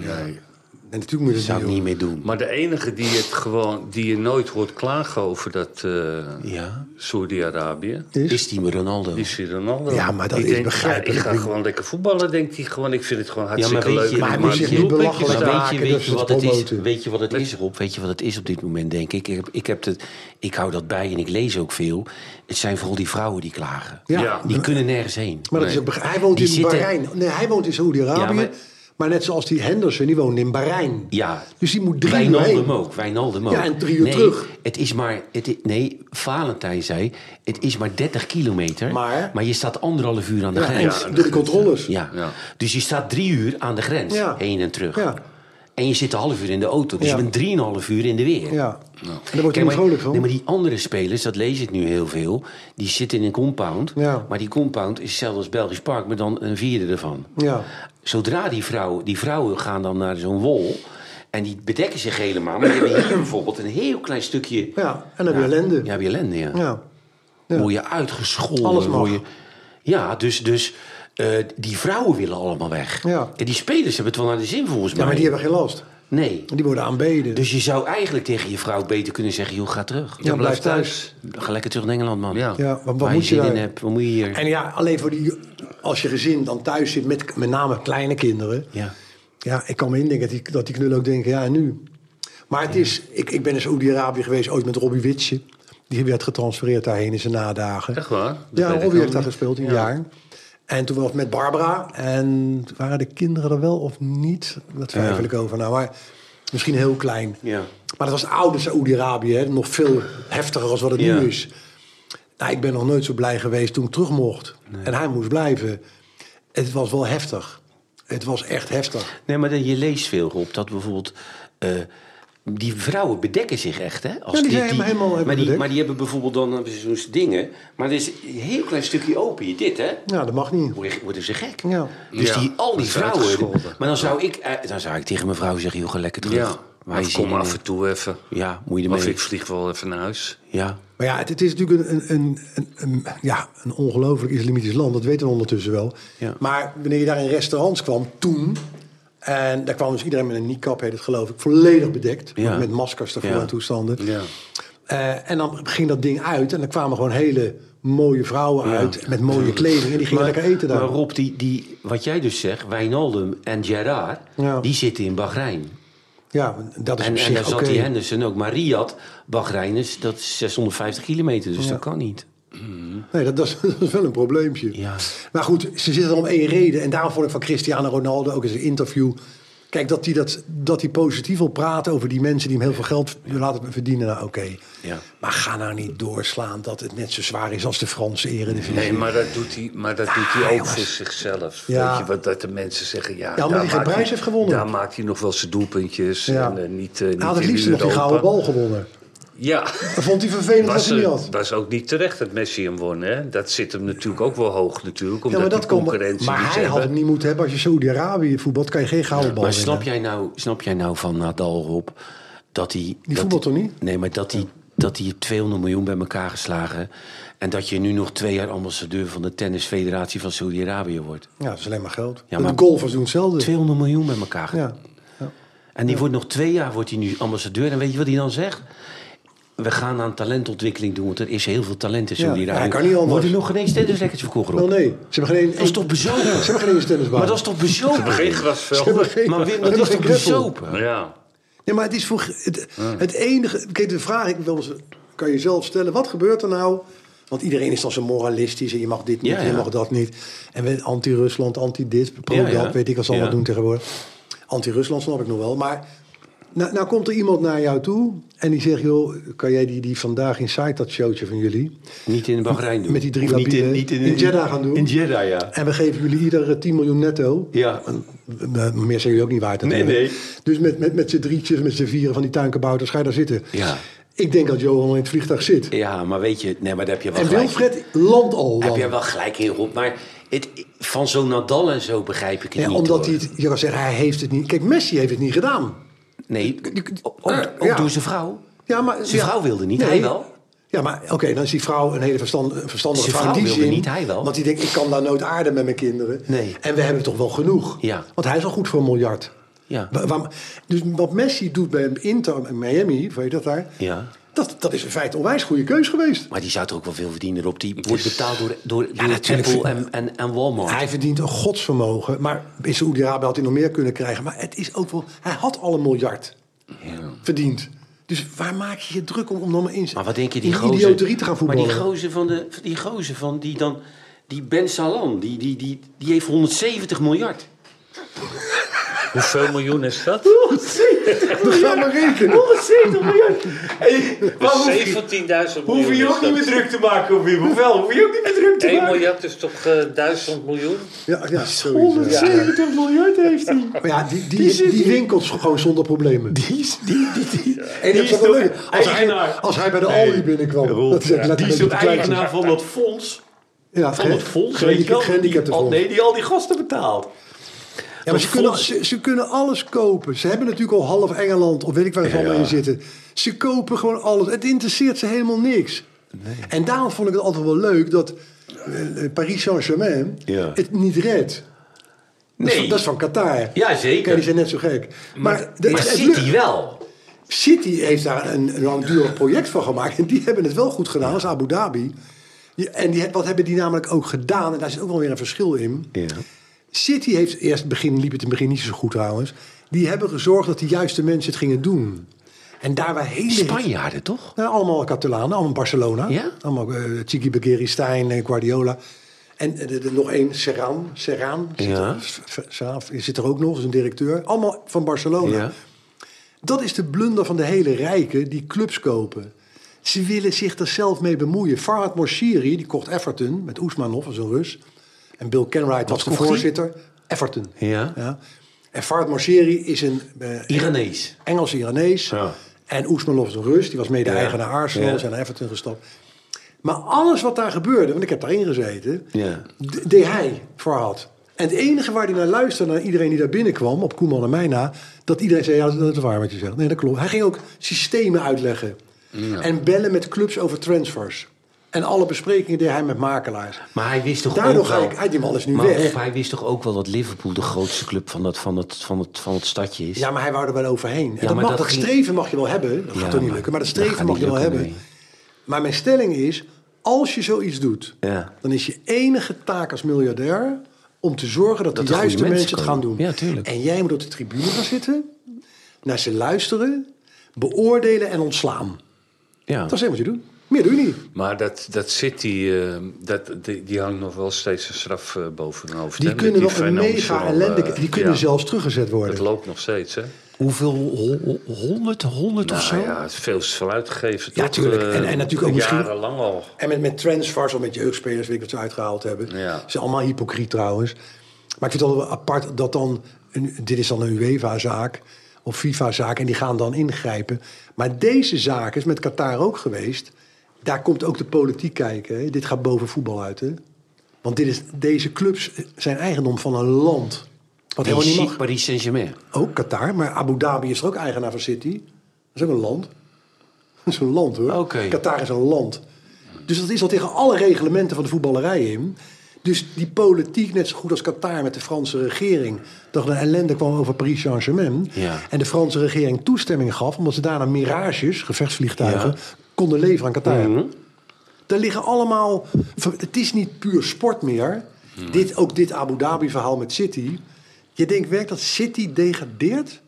Speaker 2: En natuurlijk moet je dat
Speaker 5: zou ik
Speaker 2: niet
Speaker 5: niet meer doen.
Speaker 4: Maar de enige die, het gewoon, die je nooit hoort klagen over dat eh,
Speaker 5: Ja.
Speaker 4: Saudi-Arabië.
Speaker 2: Is?
Speaker 5: Is die me Ronaldo?
Speaker 4: Die is Ronaldo.
Speaker 2: Ja, maar dat
Speaker 4: Die
Speaker 2: is
Speaker 4: denkt,
Speaker 2: begrijpelijk.
Speaker 4: Ja, ik ga gewoon lekker voetballen, denkt hij gewoon. Ik vind het gewoon hartstikke
Speaker 5: weet
Speaker 4: leuk.
Speaker 5: je-
Speaker 4: en
Speaker 5: maar
Speaker 4: ik
Speaker 5: moet
Speaker 4: maak
Speaker 5: je
Speaker 4: die
Speaker 2: niet
Speaker 4: doelpuntjes
Speaker 2: belachelijk
Speaker 4: daar.
Speaker 5: Maar weet je,
Speaker 2: maken,
Speaker 5: weet
Speaker 2: dus
Speaker 5: je
Speaker 2: het
Speaker 5: wat het is?
Speaker 2: promoten.
Speaker 5: Weet je wat het is, Rob? Weet je wat het is op dit moment, denk ik? Ik, heb, ik, heb het, ik hou dat bij en ik lees ook veel. Het zijn vooral die vrouwen die klagen.
Speaker 2: Ja.
Speaker 4: Ja.
Speaker 5: Die kunnen nergens heen.
Speaker 2: Maar dat is
Speaker 4: Nee.
Speaker 2: ook begrijp- hij woont
Speaker 5: Die
Speaker 2: in
Speaker 5: zitten-
Speaker 2: Bahrein. Nee, hij woont in Saudi-Arabië.
Speaker 5: Ja,
Speaker 2: maar...
Speaker 5: maar-
Speaker 2: Maar net zoals die Henderson, die woonde in Bahrein.
Speaker 5: Ja.
Speaker 2: Dus die moet drie uur heen.
Speaker 5: Wijnaldum ook, Wijnaldum ook.
Speaker 2: Ja, en drie uur
Speaker 5: nee,
Speaker 2: terug.
Speaker 5: Het is maar, het i- nee, Valentijn zei, het is maar 30 kilometer.
Speaker 2: Maar-
Speaker 5: je staat anderhalf uur aan de
Speaker 2: Ja, en dus-
Speaker 5: grens.
Speaker 2: door de controles.
Speaker 5: Ja.
Speaker 4: Ja.
Speaker 5: Dus je staat drie uur aan de grens,
Speaker 2: Ja.
Speaker 5: heen en terug.
Speaker 2: Ja.
Speaker 5: En je zit een half uur in de auto, dus
Speaker 2: Ja.
Speaker 5: je bent drieënhalf uur in de weer.
Speaker 2: Ja. En Daar word je
Speaker 5: Kijk,
Speaker 2: niet
Speaker 5: maar,
Speaker 2: vrolijk van.
Speaker 5: nee, maar die andere spelers, dat lees ik nu heel veel, die zitten in een compound.
Speaker 2: Ja.
Speaker 5: Maar die compound is hetzelfde als Belgisch Park, maar dan een vierde ervan.
Speaker 2: Ja.
Speaker 5: Zodra die vrouwen, die vrouwen gaan dan naar zo'n wol en die bedekken zich helemaal. Maar die hebben hier bijvoorbeeld een heel klein stukje.
Speaker 2: Ja, en dan heb je ellende.
Speaker 5: Ja, heb je ellende, ja.
Speaker 2: Ja. ja.
Speaker 5: Word je uitgescholden.
Speaker 2: Alles mag.
Speaker 5: word je- ja, dus, dus eh, die vrouwen willen allemaal weg.
Speaker 2: Ja.
Speaker 5: En die spelers hebben het wel naar de zin volgens mij.
Speaker 2: Ja, maar die hebben geen last.
Speaker 5: Nee.
Speaker 2: Die worden aanbeden.
Speaker 5: Dus je zou eigenlijk tegen je vrouw beter kunnen zeggen: joh, ga terug.
Speaker 2: ja, blijf thuis.
Speaker 4: thuis.
Speaker 5: Ga lekker terug naar Engeland, man.
Speaker 4: Ja.
Speaker 2: Ja, wat- wat
Speaker 5: Waar
Speaker 2: moet
Speaker 5: je
Speaker 2: je
Speaker 5: zin
Speaker 2: daar?
Speaker 5: in hebt, wat moet je hier?
Speaker 2: En ja, alleen voor die, als je gezin dan thuis zit met met name kleine kinderen.
Speaker 5: Ja.
Speaker 2: Ja, ik kan me indenken dat die, dat die knullen ook denken, ja, en nu? Maar het is, ik, ik ben in Saoedi-Arabië geweest, ooit met Robbie Witsje. Die werd getransfereerd daarheen in zijn nadagen.
Speaker 4: Echt waar? Dat weet
Speaker 2: ja, Robbie
Speaker 4: ik helemaal
Speaker 2: heeft daar
Speaker 4: niet.
Speaker 2: gespeeld, een jaar. En toen was het met Barbara. En waren de kinderen er wel of niet? Dat twijfel
Speaker 5: Ja.
Speaker 2: ik over. Nou, maar misschien heel klein.
Speaker 5: Ja.
Speaker 2: Maar dat was oude Saoedi-Arabië, hè, nog veel heftiger als wat het
Speaker 5: Ja.
Speaker 2: nu is. Nou, ik ben nog nooit zo blij geweest toen ik terug mocht. En hij moest blijven. Het was wel heftig. Het was echt heftig.
Speaker 5: Nee, maar je leest veel op dat bijvoorbeeld. eh, die vrouwen bedekken zich echt, hè? Als
Speaker 2: Ja, die zijn helemaal- helemaal
Speaker 5: maar, die,
Speaker 2: bedekt.
Speaker 5: maar die hebben bijvoorbeeld dan hebben ze zo'n dingen. Maar er is een heel klein stukje open hier, dit, hè?
Speaker 2: Ja, dat mag niet.
Speaker 5: Word je- Worden ze gek.
Speaker 2: Ja.
Speaker 5: Dus
Speaker 4: Ja,
Speaker 5: die, al die
Speaker 4: dat zijn
Speaker 5: vrouwen.
Speaker 4: uitgescholden.
Speaker 5: Maar dan zou, ik, eh, dan zou ik tegen mijn vrouw zeggen: joh, ga lekker terug.
Speaker 4: Ja.
Speaker 5: Waar je
Speaker 4: Of
Speaker 5: zin
Speaker 4: kom
Speaker 5: in
Speaker 4: af en
Speaker 5: hebt.
Speaker 4: toe even.
Speaker 5: Ja, moet je
Speaker 4: Of
Speaker 5: ermee.
Speaker 4: ik vlieg wel even naar huis.
Speaker 5: Ja.
Speaker 2: Maar ja, het, het is natuurlijk een, een, een, een- ja, een ongelooflijk islamitisch land. Dat weten we ondertussen wel.
Speaker 5: Ja.
Speaker 2: Maar wanneer je daar in restaurants kwam, toen... En daar kwam dus iedereen met een niqab, heet het geloof ik, volledig bedekt.
Speaker 5: Ja.
Speaker 2: Met maskers daarvoor
Speaker 5: Ja.
Speaker 2: en toestanden.
Speaker 4: Ja.
Speaker 2: Eh, en dan ging dat ding uit en er kwamen gewoon hele mooie vrouwen uit met mooie kleding. En die gingen lekker eten daar.
Speaker 5: Maar Rob, die, die, wat jij dus zegt, Wijnaldum en Gerard,
Speaker 2: Ja.
Speaker 5: die zitten in Bahrein.
Speaker 2: Ja, dat is
Speaker 5: En,
Speaker 2: op
Speaker 5: en daar
Speaker 2: zich
Speaker 5: zat
Speaker 2: oké.
Speaker 5: die Henderson ook. Maar Riyadh, Bahrein, is, dat is 650 kilometer, dus dat kan niet.
Speaker 2: Nee, dat, dat, is, dat is wel een probleempje.
Speaker 5: Ja.
Speaker 2: Maar goed, ze zitten er om één reden. En daarom vond ik van Cristiano Ronaldo ook in zijn interview... Kijk, dat hij dat, dat die positief wil praten over die mensen die hem heel veel geld laten verdienen. Nou, oké.
Speaker 5: Ja.
Speaker 2: Maar ga nou niet doorslaan dat het net zo zwaar is als de Franse eredivisie.
Speaker 4: Nee, maar dat doet hij, maar dat doet hij
Speaker 2: Ah,
Speaker 4: ook
Speaker 2: jongens.
Speaker 4: voor zichzelf.
Speaker 2: Ja.
Speaker 4: Weet je, wat, dat de mensen zeggen, ja...
Speaker 2: omdat
Speaker 4: daar
Speaker 2: hij geen
Speaker 4: maakt
Speaker 2: prijs heeft gewonnen.
Speaker 4: Daar maakt hij nog wel zijn doelpuntjes.
Speaker 2: Ja.
Speaker 4: En, eh, niet, eh, niet
Speaker 2: hij had het
Speaker 4: in
Speaker 2: liefst nog die
Speaker 4: Europa.
Speaker 2: gouden bal gewonnen.
Speaker 4: Ja.
Speaker 2: Dat vond hij vervelend dat
Speaker 4: Was,
Speaker 2: hij niet
Speaker 4: eh,
Speaker 2: had.
Speaker 4: was ook niet terecht dat Messi hem won. Hè? Dat zit hem natuurlijk ook wel hoog natuurlijk. Omdat
Speaker 2: Ja, maar dat
Speaker 4: die
Speaker 2: kon,
Speaker 4: concurrentie
Speaker 2: maar
Speaker 4: die ze
Speaker 2: hij had
Speaker 4: hebben.
Speaker 2: hem niet moeten hebben. Als je Saoedi-Arabië voetbalt, kan je geen gouden bal
Speaker 5: Maar
Speaker 2: winnen.
Speaker 5: snap jij, nou, snap jij nou van Nadal, Rob, dat hij... dat
Speaker 2: voetbalt
Speaker 5: hij-
Speaker 2: toch niet?
Speaker 5: Nee, maar dat hij, dat hij 200 miljoen bij elkaar geslagen... en dat je nu nog twee jaar ambassadeur van de tennisfederatie van Saudi-Arabië wordt.
Speaker 2: Ja, dat is alleen maar geld.
Speaker 5: Ja,
Speaker 2: Ja, maar...
Speaker 5: maar-
Speaker 2: De golfers doen hetzelfde.
Speaker 5: 200 miljoen bij elkaar.
Speaker 2: Ja.
Speaker 5: En die wordt nog twee jaar wordt hij nu ambassadeur. En weet je wat hij dan zegt? We gaan aan talentontwikkeling doen, want er is heel veel talent in
Speaker 2: Ja,
Speaker 5: Saudi-Arabië.
Speaker 2: hij kan niet anders.
Speaker 5: Wordt er nog geen eens tennisrackets verkocht, Rob?
Speaker 2: Oh nee, ze hebben geen...
Speaker 5: Dat is toch bezopen?
Speaker 2: Ja, ze hebben geen eens tennisbaan.
Speaker 5: Maar dat is toch bezopen?
Speaker 4: Geen
Speaker 2: Ze hebben
Speaker 4: grasveld.
Speaker 2: geen-
Speaker 5: Maar
Speaker 2: ze
Speaker 5: Wim, dat
Speaker 2: hebben
Speaker 5: is
Speaker 2: geen
Speaker 5: toch
Speaker 2: greffel.
Speaker 5: bezopen?
Speaker 4: Ja.
Speaker 2: Nee, maar het is voor... Het, het enige... Kijk, de vraag ik wel eens... Kan je zelf stellen, wat gebeurt er nou? Want iedereen is dan zo moralistisch en je mag dit niet,
Speaker 5: Ja, ja.
Speaker 2: je mag dat niet. En we- anti-Rusland, anti-dit, pro-dat,
Speaker 5: Ja, ja.
Speaker 2: weet ik wat ze allemaal
Speaker 5: Ja.
Speaker 2: doen tegenwoordig. Anti-Rusland snap ik nog wel, maar... Nou, nou komt er iemand naar jou toe en die zegt... joh, kan jij die, die vandaag inside dat showtje van jullie...
Speaker 5: Niet in Bahrein doen.
Speaker 2: Met die drie
Speaker 5: Of niet in,
Speaker 2: labielen.
Speaker 5: niet in,
Speaker 2: In Jeddah gaan doen.
Speaker 5: In Jeddah, ja.
Speaker 2: En we geven jullie ieder 10 miljoen netto.
Speaker 5: Ja.
Speaker 2: Eh, Meer zijn jullie ook niet waard.
Speaker 5: Nee,
Speaker 2: natuurlijk.
Speaker 5: nee.
Speaker 2: Dus met, met, met z'n drietjes, met z'n vieren van die tuinkabouters ga je daar zitten.
Speaker 5: Ja.
Speaker 2: Ik denk dat Johan in het vliegtuig zit.
Speaker 5: Ja, maar weet je, nee, maar daar heb je wel
Speaker 2: en
Speaker 5: gelijk.
Speaker 2: Wilfred landt al
Speaker 5: Heb
Speaker 2: dan.
Speaker 5: je wel gelijk in, Rob. Maar het, van zo'n Nadal en zo begrijp ik het
Speaker 2: Ja,
Speaker 5: niet.
Speaker 2: omdat
Speaker 5: hoor.
Speaker 2: hij, het- je kan zeggen, hij heeft het niet. Kijk, Messi heeft het niet gedaan.
Speaker 5: Nee, ook, ook
Speaker 2: eh, Ja.
Speaker 5: door zijn vrouw.
Speaker 2: Ja, maar,
Speaker 5: Zijn
Speaker 2: ja.
Speaker 5: vrouw wilde niet,
Speaker 2: Nee.
Speaker 5: hij wel.
Speaker 2: Ja, maar oké, dan is die vrouw een hele verstand, een verstandige
Speaker 5: Zijn
Speaker 2: vrouw. in
Speaker 5: vrouw
Speaker 2: die
Speaker 5: wilde
Speaker 2: zin.
Speaker 5: niet, hij wel.
Speaker 2: Want die denkt, ik kan daar nooit aarden met mijn kinderen.
Speaker 5: Nee.
Speaker 2: En we hebben toch wel genoeg.
Speaker 5: Ja.
Speaker 2: Want hij is al goed voor een miljard.
Speaker 5: Ja.
Speaker 2: Wa- waar- dus wat Messi doet bij Inter in Miami, weet je dat daar?
Speaker 5: Ja.
Speaker 2: Dat, dat is in feite een onwijs goede keus geweest.
Speaker 5: Maar die zou toch ook wel veel verdienen, Rob. Die wordt betaald door, door, door
Speaker 2: natuurlijk.
Speaker 5: Apple en, en, en Walmart.
Speaker 2: Hij verdient een godsvermogen. Maar in Saoedi-Arabië had hij nog meer kunnen krijgen. Maar het is ook wel... Hij had al een miljard verdiend. Dus waar maak je je druk om, om dan maar in...
Speaker 5: Maar wat denk je, die
Speaker 2: in
Speaker 5: gozer...
Speaker 2: idioterie te gaan voetballen?
Speaker 5: Maar die gozer van, de, die gozer van die dan... Die Ben Salam, die, die, die, die heeft 170 miljard.
Speaker 4: Hoeveel miljoen is dat?
Speaker 3: 170
Speaker 2: Dus ga maar rekenen.
Speaker 3: 170 miljoen! Hey, maar hoef je-
Speaker 4: 17.000 Dus miljoen.
Speaker 3: hoef je
Speaker 4: is
Speaker 3: je ook
Speaker 4: dat.
Speaker 3: niet meer druk te maken op wie? Hoeveel? Hoef je ook niet meer druk te
Speaker 4: 1
Speaker 3: maken?
Speaker 4: miljard is toch eh 1000 miljoen?
Speaker 2: Ja, ja, zoiets, ja.
Speaker 3: 170 miljard heeft hij.
Speaker 2: Maar ja, die, die, die, winkelt gewoon zonder problemen.
Speaker 3: Die is, die, die, die,
Speaker 2: En
Speaker 3: die
Speaker 2: dat
Speaker 3: is
Speaker 2: is wel
Speaker 3: toch
Speaker 2: leuk. Als hij,
Speaker 3: eigenaar.
Speaker 2: als hij bij de Aldi binnenkwam.
Speaker 3: Roel,
Speaker 2: dat is echt
Speaker 3: die is
Speaker 2: letterlijk
Speaker 3: ook
Speaker 2: het kleinste.
Speaker 3: eigenaar van dat fonds.
Speaker 2: Ja,
Speaker 3: Van dat fonds, weet je wel? Die, al, nee, die al die gasten betaalt.
Speaker 2: Ja, maar
Speaker 3: Dat
Speaker 2: ze, kunnen,
Speaker 3: fonds.
Speaker 2: ze, ze kunnen alles kopen. Ze hebben natuurlijk al half Engeland of weet ik waar ze allemaal
Speaker 3: Ja.
Speaker 2: in zitten. Ze kopen gewoon alles. Het interesseert ze helemaal niks. En daarom vond ik het altijd wel leuk dat eh, eh, Paris Saint-Germain
Speaker 3: Ja.
Speaker 2: het niet redt. Dat, is,
Speaker 3: Nee.
Speaker 2: van- dat is van Qatar.
Speaker 3: Ja, zeker.
Speaker 2: Kijk, die zijn net zo gek. Maar, de,
Speaker 3: Maar
Speaker 2: het
Speaker 3: City
Speaker 2: lukt.
Speaker 3: wel.
Speaker 2: City heeft daar een een langdurig project van gemaakt. En die hebben het wel goed gedaan, dat is Abu Dhabi. Die- En die, wat hebben die namelijk ook gedaan? En daar zit ook wel weer een verschil in. City heeft eerst het begin, liep het in het begin niet zo goed trouwens. Die hebben gezorgd dat de juiste mensen het gingen doen. En daar waar hele...
Speaker 3: Spanjaarden, toch?
Speaker 2: Nou, allemaal Catalanen, allemaal Barcelona.
Speaker 3: Ja?
Speaker 2: Allemaal eh Chiki Bekeri, Stijn, eh, Guardiola. En eh, de- de- nog één, Serran. Serran zit,
Speaker 3: Ja.
Speaker 2: er, S- S- Serran zit er ook nog, is een directeur. Allemaal van Barcelona.
Speaker 3: Ja.
Speaker 2: Dat is de blunder van de hele rijken die clubs kopen. Ze willen zich er zelf mee bemoeien. Farhad Moshiri, die kocht Everton met Oesmanov, dat is een Rus. En Bill Kenwright was de
Speaker 3: kocht hij?
Speaker 2: voorzitter. Everton.
Speaker 3: Ja.
Speaker 2: En Farhad Moshiri is een eh,
Speaker 3: Iranees.
Speaker 2: Engels-Iranees.
Speaker 3: Ja.
Speaker 2: En Oesmanov is een Rus. Die was mede-eigenaar
Speaker 3: Ja.
Speaker 2: Arsenal.
Speaker 3: Ja.
Speaker 2: Zijn naar Everton gestapt. Maar alles wat daar gebeurde, want ik heb daarin gezeten,
Speaker 3: Ja.
Speaker 2: d- deed hij voor had. En het enige waar hij naar luisterde, naar iedereen die daar binnenkwam, op Koeman en mij na, dat iedereen zei, ja, dat is waar wat je zegt. Nee, dat klopt. Hij ging ook systemen uitleggen. En bellen met clubs over transfers. En alle besprekingen deed hij met makelaars.
Speaker 3: Maar hij wist toch
Speaker 2: Daardoor
Speaker 3: ook
Speaker 2: ga
Speaker 3: wel...
Speaker 2: ik- hij- die man is nu
Speaker 3: maar
Speaker 2: weg.
Speaker 3: of hij wist toch ook wel dat Liverpool de grootste club van, dat, van, het, van, het, van het stadje is?
Speaker 2: Ja, maar hij wou er wel overheen. En
Speaker 3: Ja,
Speaker 2: dat,
Speaker 3: maar
Speaker 2: mag, dat,
Speaker 3: dat ging-
Speaker 2: streven mag je wel hebben. Dat
Speaker 3: Ja,
Speaker 2: gaat toch niet
Speaker 3: maar
Speaker 2: lukken. Maar dat
Speaker 3: dat
Speaker 2: streven
Speaker 3: gaat
Speaker 2: mag
Speaker 3: niet
Speaker 2: je wel
Speaker 3: lukken,
Speaker 2: hebben. Maar mijn stelling is, als je zoiets doet,
Speaker 3: Ja.
Speaker 2: dan is je enige taak als miljardair om te zorgen dat,
Speaker 3: Dat
Speaker 2: de
Speaker 3: er goede
Speaker 2: juiste mensen,
Speaker 3: mensen
Speaker 2: het gaan
Speaker 3: komen.
Speaker 2: doen.
Speaker 3: Ja, tuurlijk.
Speaker 2: En jij moet op de tribune gaan zitten, naar ze luisteren, beoordelen en ontslaan.
Speaker 3: Ja.
Speaker 2: Dat is helemaal wat je doet. Meer doe je niet.
Speaker 4: Maar dat, dat City, eh, dat, die, die hangt nog wel steeds een straf eh, boven hun hoofd.
Speaker 2: Die
Speaker 4: hè, met
Speaker 2: kunnen nog een
Speaker 4: financial,
Speaker 2: mega ellende...
Speaker 4: eh,
Speaker 2: die kunnen
Speaker 4: ja.
Speaker 2: zelfs teruggezet
Speaker 4: Dat
Speaker 2: worden.
Speaker 4: loopt nog steeds, hè?
Speaker 3: Hoeveel? Ho- ho- Honderd? Honderd of zo?
Speaker 4: Nou ja, het is veel is uitgegeven.
Speaker 2: Ja,
Speaker 4: toch,
Speaker 2: tuurlijk.
Speaker 4: eh,
Speaker 2: En- en natuurlijk ook misschien-
Speaker 4: Jarenlang al.
Speaker 2: En met, met transfers of met jeugdspelers, weet ik wat ze uitgehaald hebben.
Speaker 4: Ja.
Speaker 2: Ze zijn allemaal hypocriet trouwens. Maar ik vind het wel apart dat dan... Een, dit is dan een UEFA-zaak of FIFA-zaak en die gaan dan ingrijpen. Maar deze zaak is met Qatar ook geweest. Daar komt ook de politiek kijken. Hè. Dit gaat boven voetbal uit. Hè. Want dit is, deze clubs zijn eigendom van een land. Wat
Speaker 3: Die
Speaker 2: helemaal niet
Speaker 3: ziek
Speaker 2: mag.
Speaker 3: Paris Saint-Germain.
Speaker 2: Ook Qatar, maar Abu Dhabi is er ook eigenaar van City. Dat is ook een land. Dat is een land hoor.
Speaker 3: Oké.
Speaker 2: Qatar is een land. Dus dat is al tegen alle reglementen van de voetballerij in. Dus die politiek, net zo goed als Qatar met de Franse regering, dat er een ellende kwam over Paris Saint-Germain.
Speaker 3: Ja.
Speaker 2: En de Franse regering toestemming gaf, omdat ze daarna mirages, gevechtsvliegtuigen,
Speaker 3: Ja. Mhm.
Speaker 2: konden leveren aan Qatar. Daar liggen allemaal. Het is niet puur sport meer. Dit, ook dit Abu Dhabi-verhaal met City. Je denkt werkelijk dat City degradeert?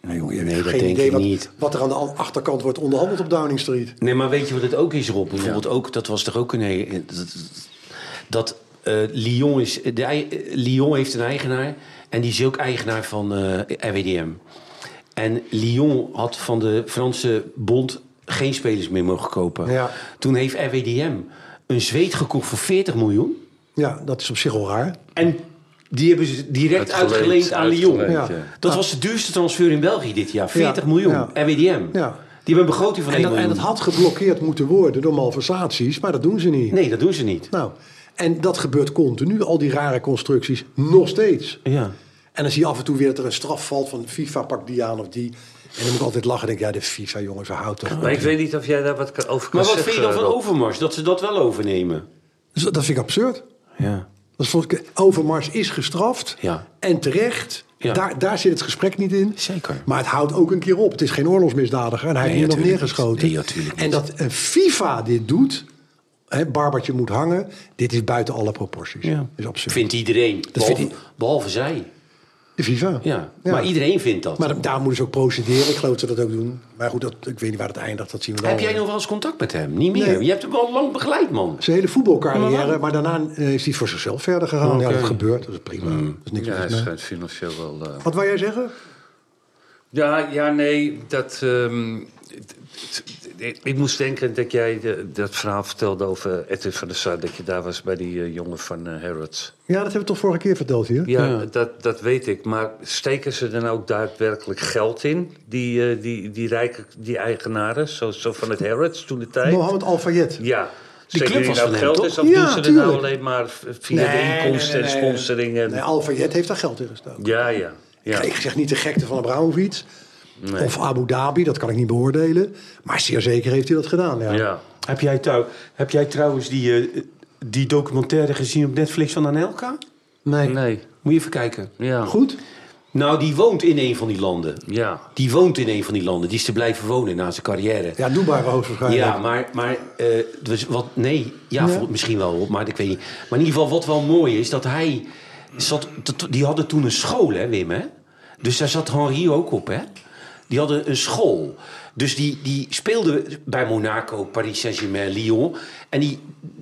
Speaker 3: Nee, nee dat
Speaker 2: Geen
Speaker 3: denk
Speaker 2: idee
Speaker 3: ik
Speaker 2: wat,
Speaker 3: niet.
Speaker 2: wat er aan de an- achterkant wordt onderhandeld op Downing Street.
Speaker 3: Nee, maar weet je wat het ook is, Rob? Bijvoorbeeld ook, dat was toch ook een... he- Dat, dat eh, Lyon, is, de, ei- eh, Lyon heeft een eigenaar en die is ook eigenaar van eh RWDM. En Lyon had van de Franse bond geen spelers meer mogen kopen.
Speaker 2: Ja.
Speaker 3: Toen heeft RWDM een Zweed gekocht voor 40 miljoen.
Speaker 2: Ja, dat is op zich al raar.
Speaker 3: En die hebben ze direct
Speaker 4: Uitgeleend,
Speaker 3: uitgeleend aan Lyon.
Speaker 4: uitgeleend,
Speaker 2: Ja. ja.
Speaker 3: Dat was de duurste transfer in België dit jaar. 40
Speaker 2: Ja,
Speaker 3: miljoen.
Speaker 2: ja.
Speaker 3: RWDM. Die
Speaker 2: Ja.
Speaker 3: hebben een begroting van
Speaker 2: En
Speaker 3: 1
Speaker 2: dat, en
Speaker 3: miljoen.
Speaker 2: dat had geblokkeerd moeten worden door malversaties, maar dat doen ze niet.
Speaker 3: Nee, dat doen ze niet.
Speaker 2: Nou, en dat gebeurt continu, al die rare constructies, nog steeds.
Speaker 3: Ja.
Speaker 2: En dan zie je af en toe weer dat er een straf valt van FIFA pakt die aan of die. En dan moet ik altijd lachen en denk ja, de FIFA jongens, houdt toch.
Speaker 4: Maar ik weet niet of jij daar wat kan- over kan
Speaker 3: Maar wat
Speaker 4: zeggen.
Speaker 3: vind je dan van
Speaker 4: Rob.
Speaker 3: Overmars? Dat ze dat wel overnemen?
Speaker 2: Dus dat dat vind ik absurd.
Speaker 3: Ja.
Speaker 2: Dat vond ik, Overmars is gestraft.
Speaker 3: Ja.
Speaker 2: En terecht.
Speaker 3: Ja.
Speaker 2: Daar, daar zit het gesprek niet in.
Speaker 3: Zeker.
Speaker 2: Maar het houdt ook een keer op. Het is geen oorlogsmisdadiger. En hij heeft
Speaker 3: Nee,
Speaker 2: hier nog
Speaker 3: natuurlijk
Speaker 2: neergeschoten.
Speaker 3: niet. Nee, natuurlijk niet.
Speaker 2: en dat een FIFA dit doet. Hè, Barbertje moet hangen. Dit is buiten alle proporties.
Speaker 3: ja.
Speaker 2: is absurd.
Speaker 3: Vindt iedereen. behalve,
Speaker 2: vindt
Speaker 3: behalve zij.
Speaker 2: De FIFA.
Speaker 3: Ja.
Speaker 2: Ja.
Speaker 3: Maar iedereen vindt dat.
Speaker 2: Maar daar moeten ze ook procederen. Ik geloof dat ze dat ook doen. Maar goed, dat, ik weet niet waar het eindigt. Dat zien we dan.
Speaker 3: Heb jij nog wel eens contact met hem? Niet meer.
Speaker 2: Nee.
Speaker 3: Je hebt hem al lang begeleid, man.
Speaker 2: Zijn hele voetbalcarrière.
Speaker 3: Maar
Speaker 2: Maar,
Speaker 3: waarom?
Speaker 2: daarna eh, is hij voor zichzelf verder gegaan. Ja, dat gebeurt. Dat is prima.
Speaker 3: Mm.
Speaker 2: Dat is niks
Speaker 4: Ja, hij
Speaker 2: mis mee.
Speaker 4: schijnt financieel wel... eh,
Speaker 2: Wat wou jij zeggen?
Speaker 4: Ja, ja, nee, dat... ehm, het- het- ik- ik moest denken dat jij de- dat verhaal vertelde over Edwin van der Sar... dat je daar was bij die eh, jongen van eh, Harrods.
Speaker 2: Ja, dat hebben we toch vorige keer verteld hier?
Speaker 4: Ja, Dat, dat weet ik. Maar steken ze dan ook daadwerkelijk geld in, die, eh, die, die rijke die eigenaren? Zo, zo van het Harrods toen de tijd?
Speaker 2: Mohammed Al-Fayed.
Speaker 4: Ja.
Speaker 3: Die
Speaker 4: Steken
Speaker 3: club
Speaker 4: die
Speaker 3: was
Speaker 4: nou
Speaker 3: van hem,
Speaker 4: geld
Speaker 3: toch?
Speaker 4: in? Of
Speaker 2: Ja,
Speaker 4: doen ze er nou
Speaker 2: tuurlijk.
Speaker 4: alleen maar v- via
Speaker 2: Nee,
Speaker 4: de inkomsten
Speaker 2: nee, nee,
Speaker 4: en
Speaker 2: nee.
Speaker 4: sponsoring? En...
Speaker 2: Nee, Al-Fayed heeft daar geld in gestoken.
Speaker 4: Ja, ja. ja.
Speaker 2: Ik zeg niet de gekte van Abramovic. Of Abu Dhabi, dat kan ik niet beoordelen. Maar zeer zeker heeft hij dat gedaan. Ja.
Speaker 4: ja.
Speaker 3: Heb jij, trouw, heb jij trouwens die, eh, die documentaire gezien op Netflix van Anelka?
Speaker 2: Nee.
Speaker 4: Nee.
Speaker 3: Moet je even kijken.
Speaker 4: Ja.
Speaker 2: Goed?
Speaker 3: Nou, die woont in een van die landen.
Speaker 4: Ja.
Speaker 3: Die woont in een van die landen. Die is te blijven wonen na zijn carrière.
Speaker 2: Ja, Dubai hoogstwaarschijnlijk.
Speaker 3: Ja, maar, maar eh, dus wat, nee, ja,
Speaker 2: Ja.
Speaker 3: vol- misschien wel, maar ik weet niet. Maar in ieder geval, wat wel mooi is, dat hij zat, dat- die hadden toen een school, hè, Wim, hè? Dus daar zat Henri ook op, hè? Die hadden een school. Dus die, die speelden bij Monaco, Paris Saint-Germain, Lyon. En die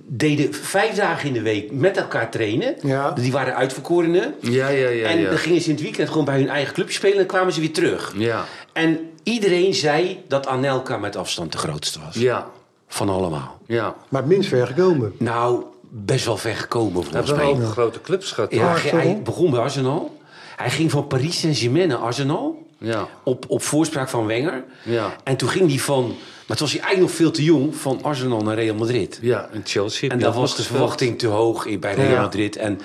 Speaker 3: deden vijf dagen in de week met elkaar trainen.
Speaker 2: Ja.
Speaker 3: Die waren uitverkorenen.
Speaker 4: Ja, ja, ja.
Speaker 3: en
Speaker 4: ja.
Speaker 3: dan gingen ze in het weekend gewoon bij hun eigen clubje spelen en kwamen ze weer terug.
Speaker 4: Ja.
Speaker 3: En iedereen zei dat Anelka met afstand de grootste was.
Speaker 4: Ja.
Speaker 3: Van allemaal.
Speaker 4: Ja.
Speaker 2: Maar het minst ver gekomen.
Speaker 3: Nou, best wel ver gekomen
Speaker 4: Hij
Speaker 3: volgens
Speaker 4: heeft wel
Speaker 3: mij.
Speaker 4: grote clubs gehad.
Speaker 3: Ja,
Speaker 4: hoor.
Speaker 3: hij- hij begon bij Arsenal. Hij ging van Paris Saint-Germain naar Arsenal.
Speaker 4: Ja.
Speaker 3: Op, op voorspraak van Wenger.
Speaker 4: Ja.
Speaker 3: En toen ging hij van... Maar toen was hij eigenlijk nog veel te jong. Van Arsenal naar Real Madrid.
Speaker 4: ja, en Chelsea.
Speaker 3: En
Speaker 4: Ja,
Speaker 3: daar was
Speaker 4: nog
Speaker 3: de
Speaker 4: gespeeld.
Speaker 3: verwachting te hoog in- bij Real
Speaker 4: Ja.
Speaker 3: Madrid. En,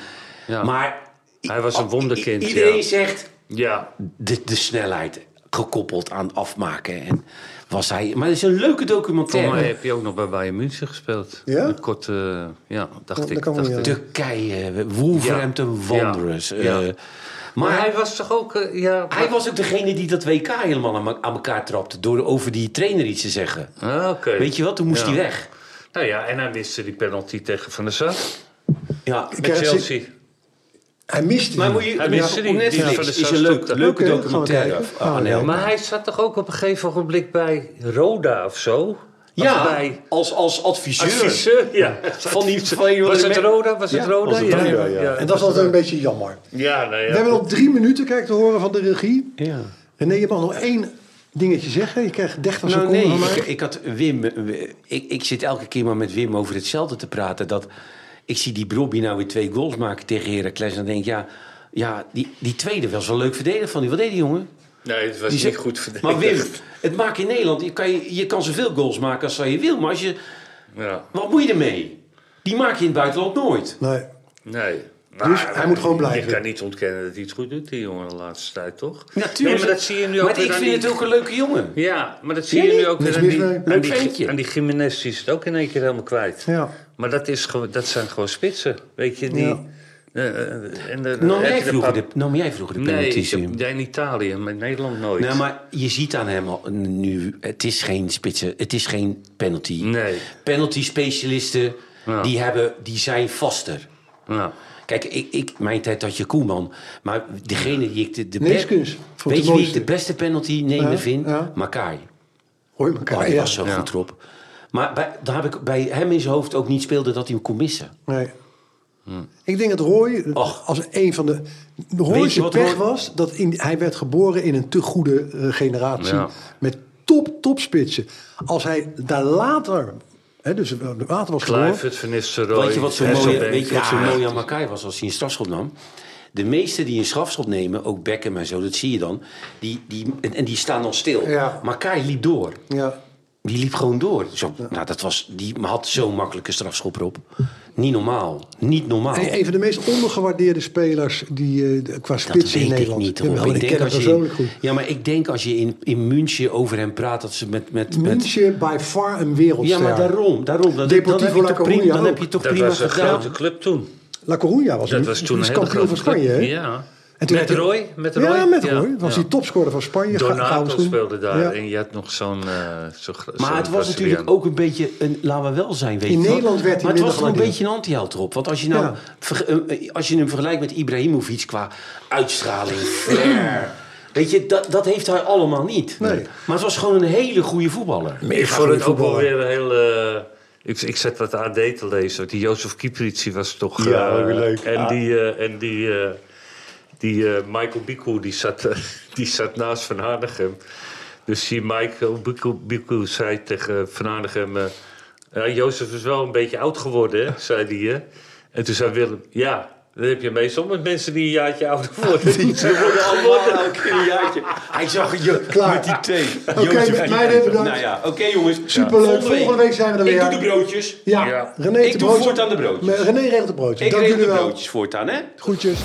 Speaker 4: Ja.
Speaker 3: Maar...
Speaker 4: Hij was een wonderkind,
Speaker 3: i- Iedereen
Speaker 4: ja.
Speaker 3: zegt...
Speaker 4: Ja.
Speaker 3: De, de snelheid gekoppeld aan afmaken. En was hij... Maar het is een leuke documentaire.
Speaker 4: Volgens mij heb je ook nog bij Bayern München gespeeld.
Speaker 2: Ja?
Speaker 4: Een korte, eh, ja, dacht
Speaker 2: dat
Speaker 4: ik.
Speaker 2: kan me
Speaker 4: dacht
Speaker 2: niet
Speaker 4: ik.
Speaker 2: aan.
Speaker 3: Turkije, Wolverhampton
Speaker 4: Ja.
Speaker 3: Wanderers.
Speaker 4: Ja.
Speaker 3: eh,
Speaker 4: Ja.
Speaker 3: Maar hij,
Speaker 4: was toch ook, eh, ja...
Speaker 3: hij was ook degene die dat WK helemaal aan, me- aan elkaar trapte. Door over die trainer iets te zeggen.
Speaker 4: Ah, oké.
Speaker 3: Weet je wat, toen moest
Speaker 4: Ja.
Speaker 3: hij weg.
Speaker 4: Nou ja, en hij miste die penalty tegen Van der Sar.
Speaker 3: Ja,
Speaker 2: Ik
Speaker 4: Met
Speaker 2: heb-
Speaker 4: Chelsea.
Speaker 2: Hij miste
Speaker 3: maar
Speaker 2: die.
Speaker 3: moet je,
Speaker 4: Hij miste
Speaker 3: op
Speaker 4: die- die
Speaker 3: Netflix
Speaker 4: van de
Speaker 3: is een
Speaker 4: zes
Speaker 3: leuk,
Speaker 4: stuk.
Speaker 3: leuke
Speaker 2: Oké, gaan we
Speaker 3: documentaire.
Speaker 2: kijken.
Speaker 3: aan
Speaker 2: Ah,
Speaker 3: Elka.
Speaker 4: Maar hij zat toch ook op een gegeven ogenblik bij Roda of zo? Of
Speaker 3: ja,
Speaker 4: bij
Speaker 3: als, als adviseur.
Speaker 4: adviseur. Ja.
Speaker 3: Van die, van die-
Speaker 4: Was het Roda? Was het
Speaker 2: Ja,
Speaker 4: Roda?
Speaker 3: was het Roda, ja.
Speaker 2: En dat is altijd een beetje jammer.
Speaker 4: Ja, nou ja.
Speaker 2: We hebben nog drie minuten kijk, te horen van de regie.
Speaker 3: Ja.
Speaker 2: René, je mag nog één dingetje zeggen. Je krijgt 30
Speaker 3: Nou
Speaker 2: seconden
Speaker 3: nee,
Speaker 2: van mij.
Speaker 3: ik, ik had Wim. eh, Ik, ik zit elke keer maar met Wim over hetzelfde te praten. Dat ik zie die Brobby nou weer twee goals maken tegen Heracles. En dan denk ik, ja, ja die, die tweede was wel leuk verdedigd van die. Wat deed die jongen?
Speaker 4: Nee, het was
Speaker 3: Die
Speaker 4: niet
Speaker 3: zet-
Speaker 4: goed verdedigd.
Speaker 3: Maar Wim, het maakt in Nederland. Je kan, je, je kan zoveel goals maken als je wil. Maar als je,
Speaker 4: Ja.
Speaker 3: wat moet je ermee? Die maak je in het buitenland nooit.
Speaker 2: Nee.
Speaker 4: Nee.
Speaker 2: Dus hij moet gewoon blijven.
Speaker 4: Je kan niet ontkennen dat hij het goed doet, die jongen, de laatste tijd, toch?
Speaker 3: Natuurlijk.
Speaker 4: Nee, maar dat zie je nu ook
Speaker 3: Maar
Speaker 4: weer
Speaker 3: ik
Speaker 4: aan
Speaker 3: vind
Speaker 4: die-
Speaker 3: het ook een leuke jongen.
Speaker 4: Ja, maar dat zie
Speaker 3: Ja,
Speaker 4: je
Speaker 3: nee.
Speaker 4: nu ook
Speaker 2: Niks
Speaker 4: weer aan
Speaker 2: mis
Speaker 4: die,
Speaker 2: mee.
Speaker 4: aan
Speaker 3: Leuk
Speaker 4: die,
Speaker 3: ventje.
Speaker 4: aan die gymnast die is het ook in één keer helemaal kwijt.
Speaker 2: Ja.
Speaker 4: Maar dat, is, gewoon- dat zijn gewoon spitsen, weet je, die...
Speaker 2: Ja.
Speaker 4: eh, eh, en de-
Speaker 3: Nam
Speaker 4: heb
Speaker 3: Nou, jij
Speaker 4: je de
Speaker 3: vroeger
Speaker 4: pap-
Speaker 3: de, nam jij vroeger de
Speaker 4: Nee,
Speaker 3: penalties,
Speaker 4: ik heb-
Speaker 3: Wim?
Speaker 4: ja, in Italië, maar in Nederland nooit.
Speaker 3: Nou, maar je ziet aan hem al nu, het is geen spitsen, het is geen penalty.
Speaker 4: Nee.
Speaker 3: Penalty specialisten,
Speaker 4: Ja.
Speaker 3: die, hebben, die zijn vaster.
Speaker 4: Ja.
Speaker 3: Kijk, ik, ik, mijn tijd had je Koeman, maar degene die ik de, de be-
Speaker 2: Neeskens, vond ik
Speaker 3: weet je
Speaker 2: het
Speaker 3: wie ik
Speaker 2: mooiste.
Speaker 3: de beste penalty nemen
Speaker 2: Ja,
Speaker 3: vind?
Speaker 2: ja.
Speaker 3: Makai.
Speaker 2: Hoor je
Speaker 3: Oh,
Speaker 2: elkaar?
Speaker 3: die
Speaker 2: Ja.
Speaker 3: was zo
Speaker 4: Ja.
Speaker 3: goed erop. Maar bij, daar heb ik bij hem in zijn hoofd ook niet speelde dat hij hem kon missen.
Speaker 2: Nee.
Speaker 4: Hm.
Speaker 2: Ik denk dat Roy
Speaker 3: Och.
Speaker 2: als een van de... Roy
Speaker 3: Weet je
Speaker 2: zijn
Speaker 3: wat
Speaker 2: pech
Speaker 3: Roy-
Speaker 2: was dat in, hij werd geboren in een te goede eh, generatie.
Speaker 4: Ja.
Speaker 2: Met top, topspitsen. Als hij daar later... Hè, dus eh, later was geboren...
Speaker 4: Kluivert, Van Nistelrooy...
Speaker 3: Weet je wat zo
Speaker 4: Hesselberg.
Speaker 3: mooi, weet je wat zo
Speaker 2: Ja.
Speaker 3: mooi aan Makai was als hij een strafschop nam? De meesten die een strafschop nemen, ook Beckham en zo, dat zie je dan. Die, die, en, en die staan dan stil.
Speaker 2: Ja.
Speaker 3: Makai liep door.
Speaker 2: Ja.
Speaker 3: Die liep gewoon door. Zo, nou, dat was, die had zo'n makkelijke strafschop erop. Niet normaal. Niet normaal.
Speaker 2: Een, een van de meest ondergewaardeerde spelers die, eh qua
Speaker 3: dat
Speaker 2: spitsen in
Speaker 3: weet ik
Speaker 2: Nederland.
Speaker 3: niet.
Speaker 2: Jawel,
Speaker 3: Rob. Ik
Speaker 2: ken
Speaker 3: denk
Speaker 2: hem
Speaker 3: als je in,
Speaker 2: persoonlijk goed.
Speaker 3: ja, maar ik denk als je in, in München over hem praat, dat ze met... met, met
Speaker 2: München by far een wereldster.
Speaker 3: ja, maar daarom. daarom dan, dan, heb
Speaker 2: Deportivo
Speaker 3: je
Speaker 2: La
Speaker 3: toch prima,
Speaker 2: Coruña
Speaker 3: dan heb
Speaker 2: ook.
Speaker 3: je toch
Speaker 4: Dat
Speaker 3: prima
Speaker 4: was een
Speaker 3: gedaan.
Speaker 4: grote club toen.
Speaker 2: La Coruña was,
Speaker 4: Dat
Speaker 2: een,
Speaker 4: was toen
Speaker 2: is
Speaker 4: een hele
Speaker 2: kampioen
Speaker 4: grote
Speaker 2: van Spanje.
Speaker 4: club.
Speaker 2: hè?
Speaker 4: Ja.
Speaker 2: En toen
Speaker 4: Met
Speaker 2: werd hij-
Speaker 4: Roy? Met Roy?
Speaker 2: Ja, met
Speaker 4: Ja,
Speaker 2: Roy. Was
Speaker 4: ja.
Speaker 2: hij topscorer van Spanje. gouden
Speaker 4: Donato
Speaker 2: schoen.
Speaker 4: speelde daar
Speaker 2: Ja.
Speaker 4: en je had nog zo'n... eh, zo'n gro- zo'n
Speaker 3: Maar het was natuurlijk
Speaker 4: Braziliaan.
Speaker 3: ook een beetje een, laten we wel zijn, weet
Speaker 2: In
Speaker 3: je wel.
Speaker 2: Nederland werd hij
Speaker 3: Maar het
Speaker 2: minder
Speaker 3: was toch een
Speaker 2: gewaardeerd.
Speaker 3: beetje een anti-held erop. Want als je, nou,
Speaker 2: Ja.
Speaker 3: ver- eh, eh, als je hem vergelijkt met Ibrahimovic qua uitstraling, flair. Weet je, dat, dat heeft hij allemaal niet.
Speaker 2: Nee.
Speaker 3: Maar het was gewoon een hele goede voetballer.
Speaker 4: Ik
Speaker 2: Mega
Speaker 4: vond
Speaker 2: goede
Speaker 4: het ook wel
Speaker 2: voetballer.
Speaker 4: weer een heel... eh, ik, ik zat wat AD te lezen. Die Jozef Kieprits was toch...
Speaker 2: Ja,
Speaker 4: eh,
Speaker 2: ook weer leuk. Ah.
Speaker 4: En
Speaker 2: Ja.
Speaker 4: die... eh, en die eh, die eh, Michael Biku, die zat, eh, die zat naast Van Hanegem. Dus die Michael Biku, Biku zei tegen Van Hanegem... eh, ja, Jozef is wel een beetje oud geworden, hè, zei die. hè. En toen zei Willem, ja, dat heb je meestal met mensen die een jaartje ouder worden. Ze worden al
Speaker 3: Allemaal
Speaker 4: worden.
Speaker 3: elke keer een jaartje. Hij zag het je
Speaker 2: Klaar.
Speaker 3: met die thee.
Speaker 2: Oké,
Speaker 3: Jozef
Speaker 2: met
Speaker 3: die
Speaker 2: mij
Speaker 3: thee.
Speaker 2: bedankt.
Speaker 3: Nou ja, oké jongens.
Speaker 2: Superleuk. Volgende week zijn we er
Speaker 3: Ik
Speaker 2: weer.
Speaker 3: doe de broodjes.
Speaker 2: Ja,
Speaker 4: Ja.
Speaker 2: René
Speaker 3: Ik
Speaker 2: de
Speaker 3: doe
Speaker 2: broodjes-
Speaker 3: voortaan de broodjes.
Speaker 2: René regelt de broodjes.
Speaker 3: Ik
Speaker 2: Dank
Speaker 3: regel de
Speaker 2: jullie wel.
Speaker 3: broodjes voortaan, hè.
Speaker 2: Groetjes.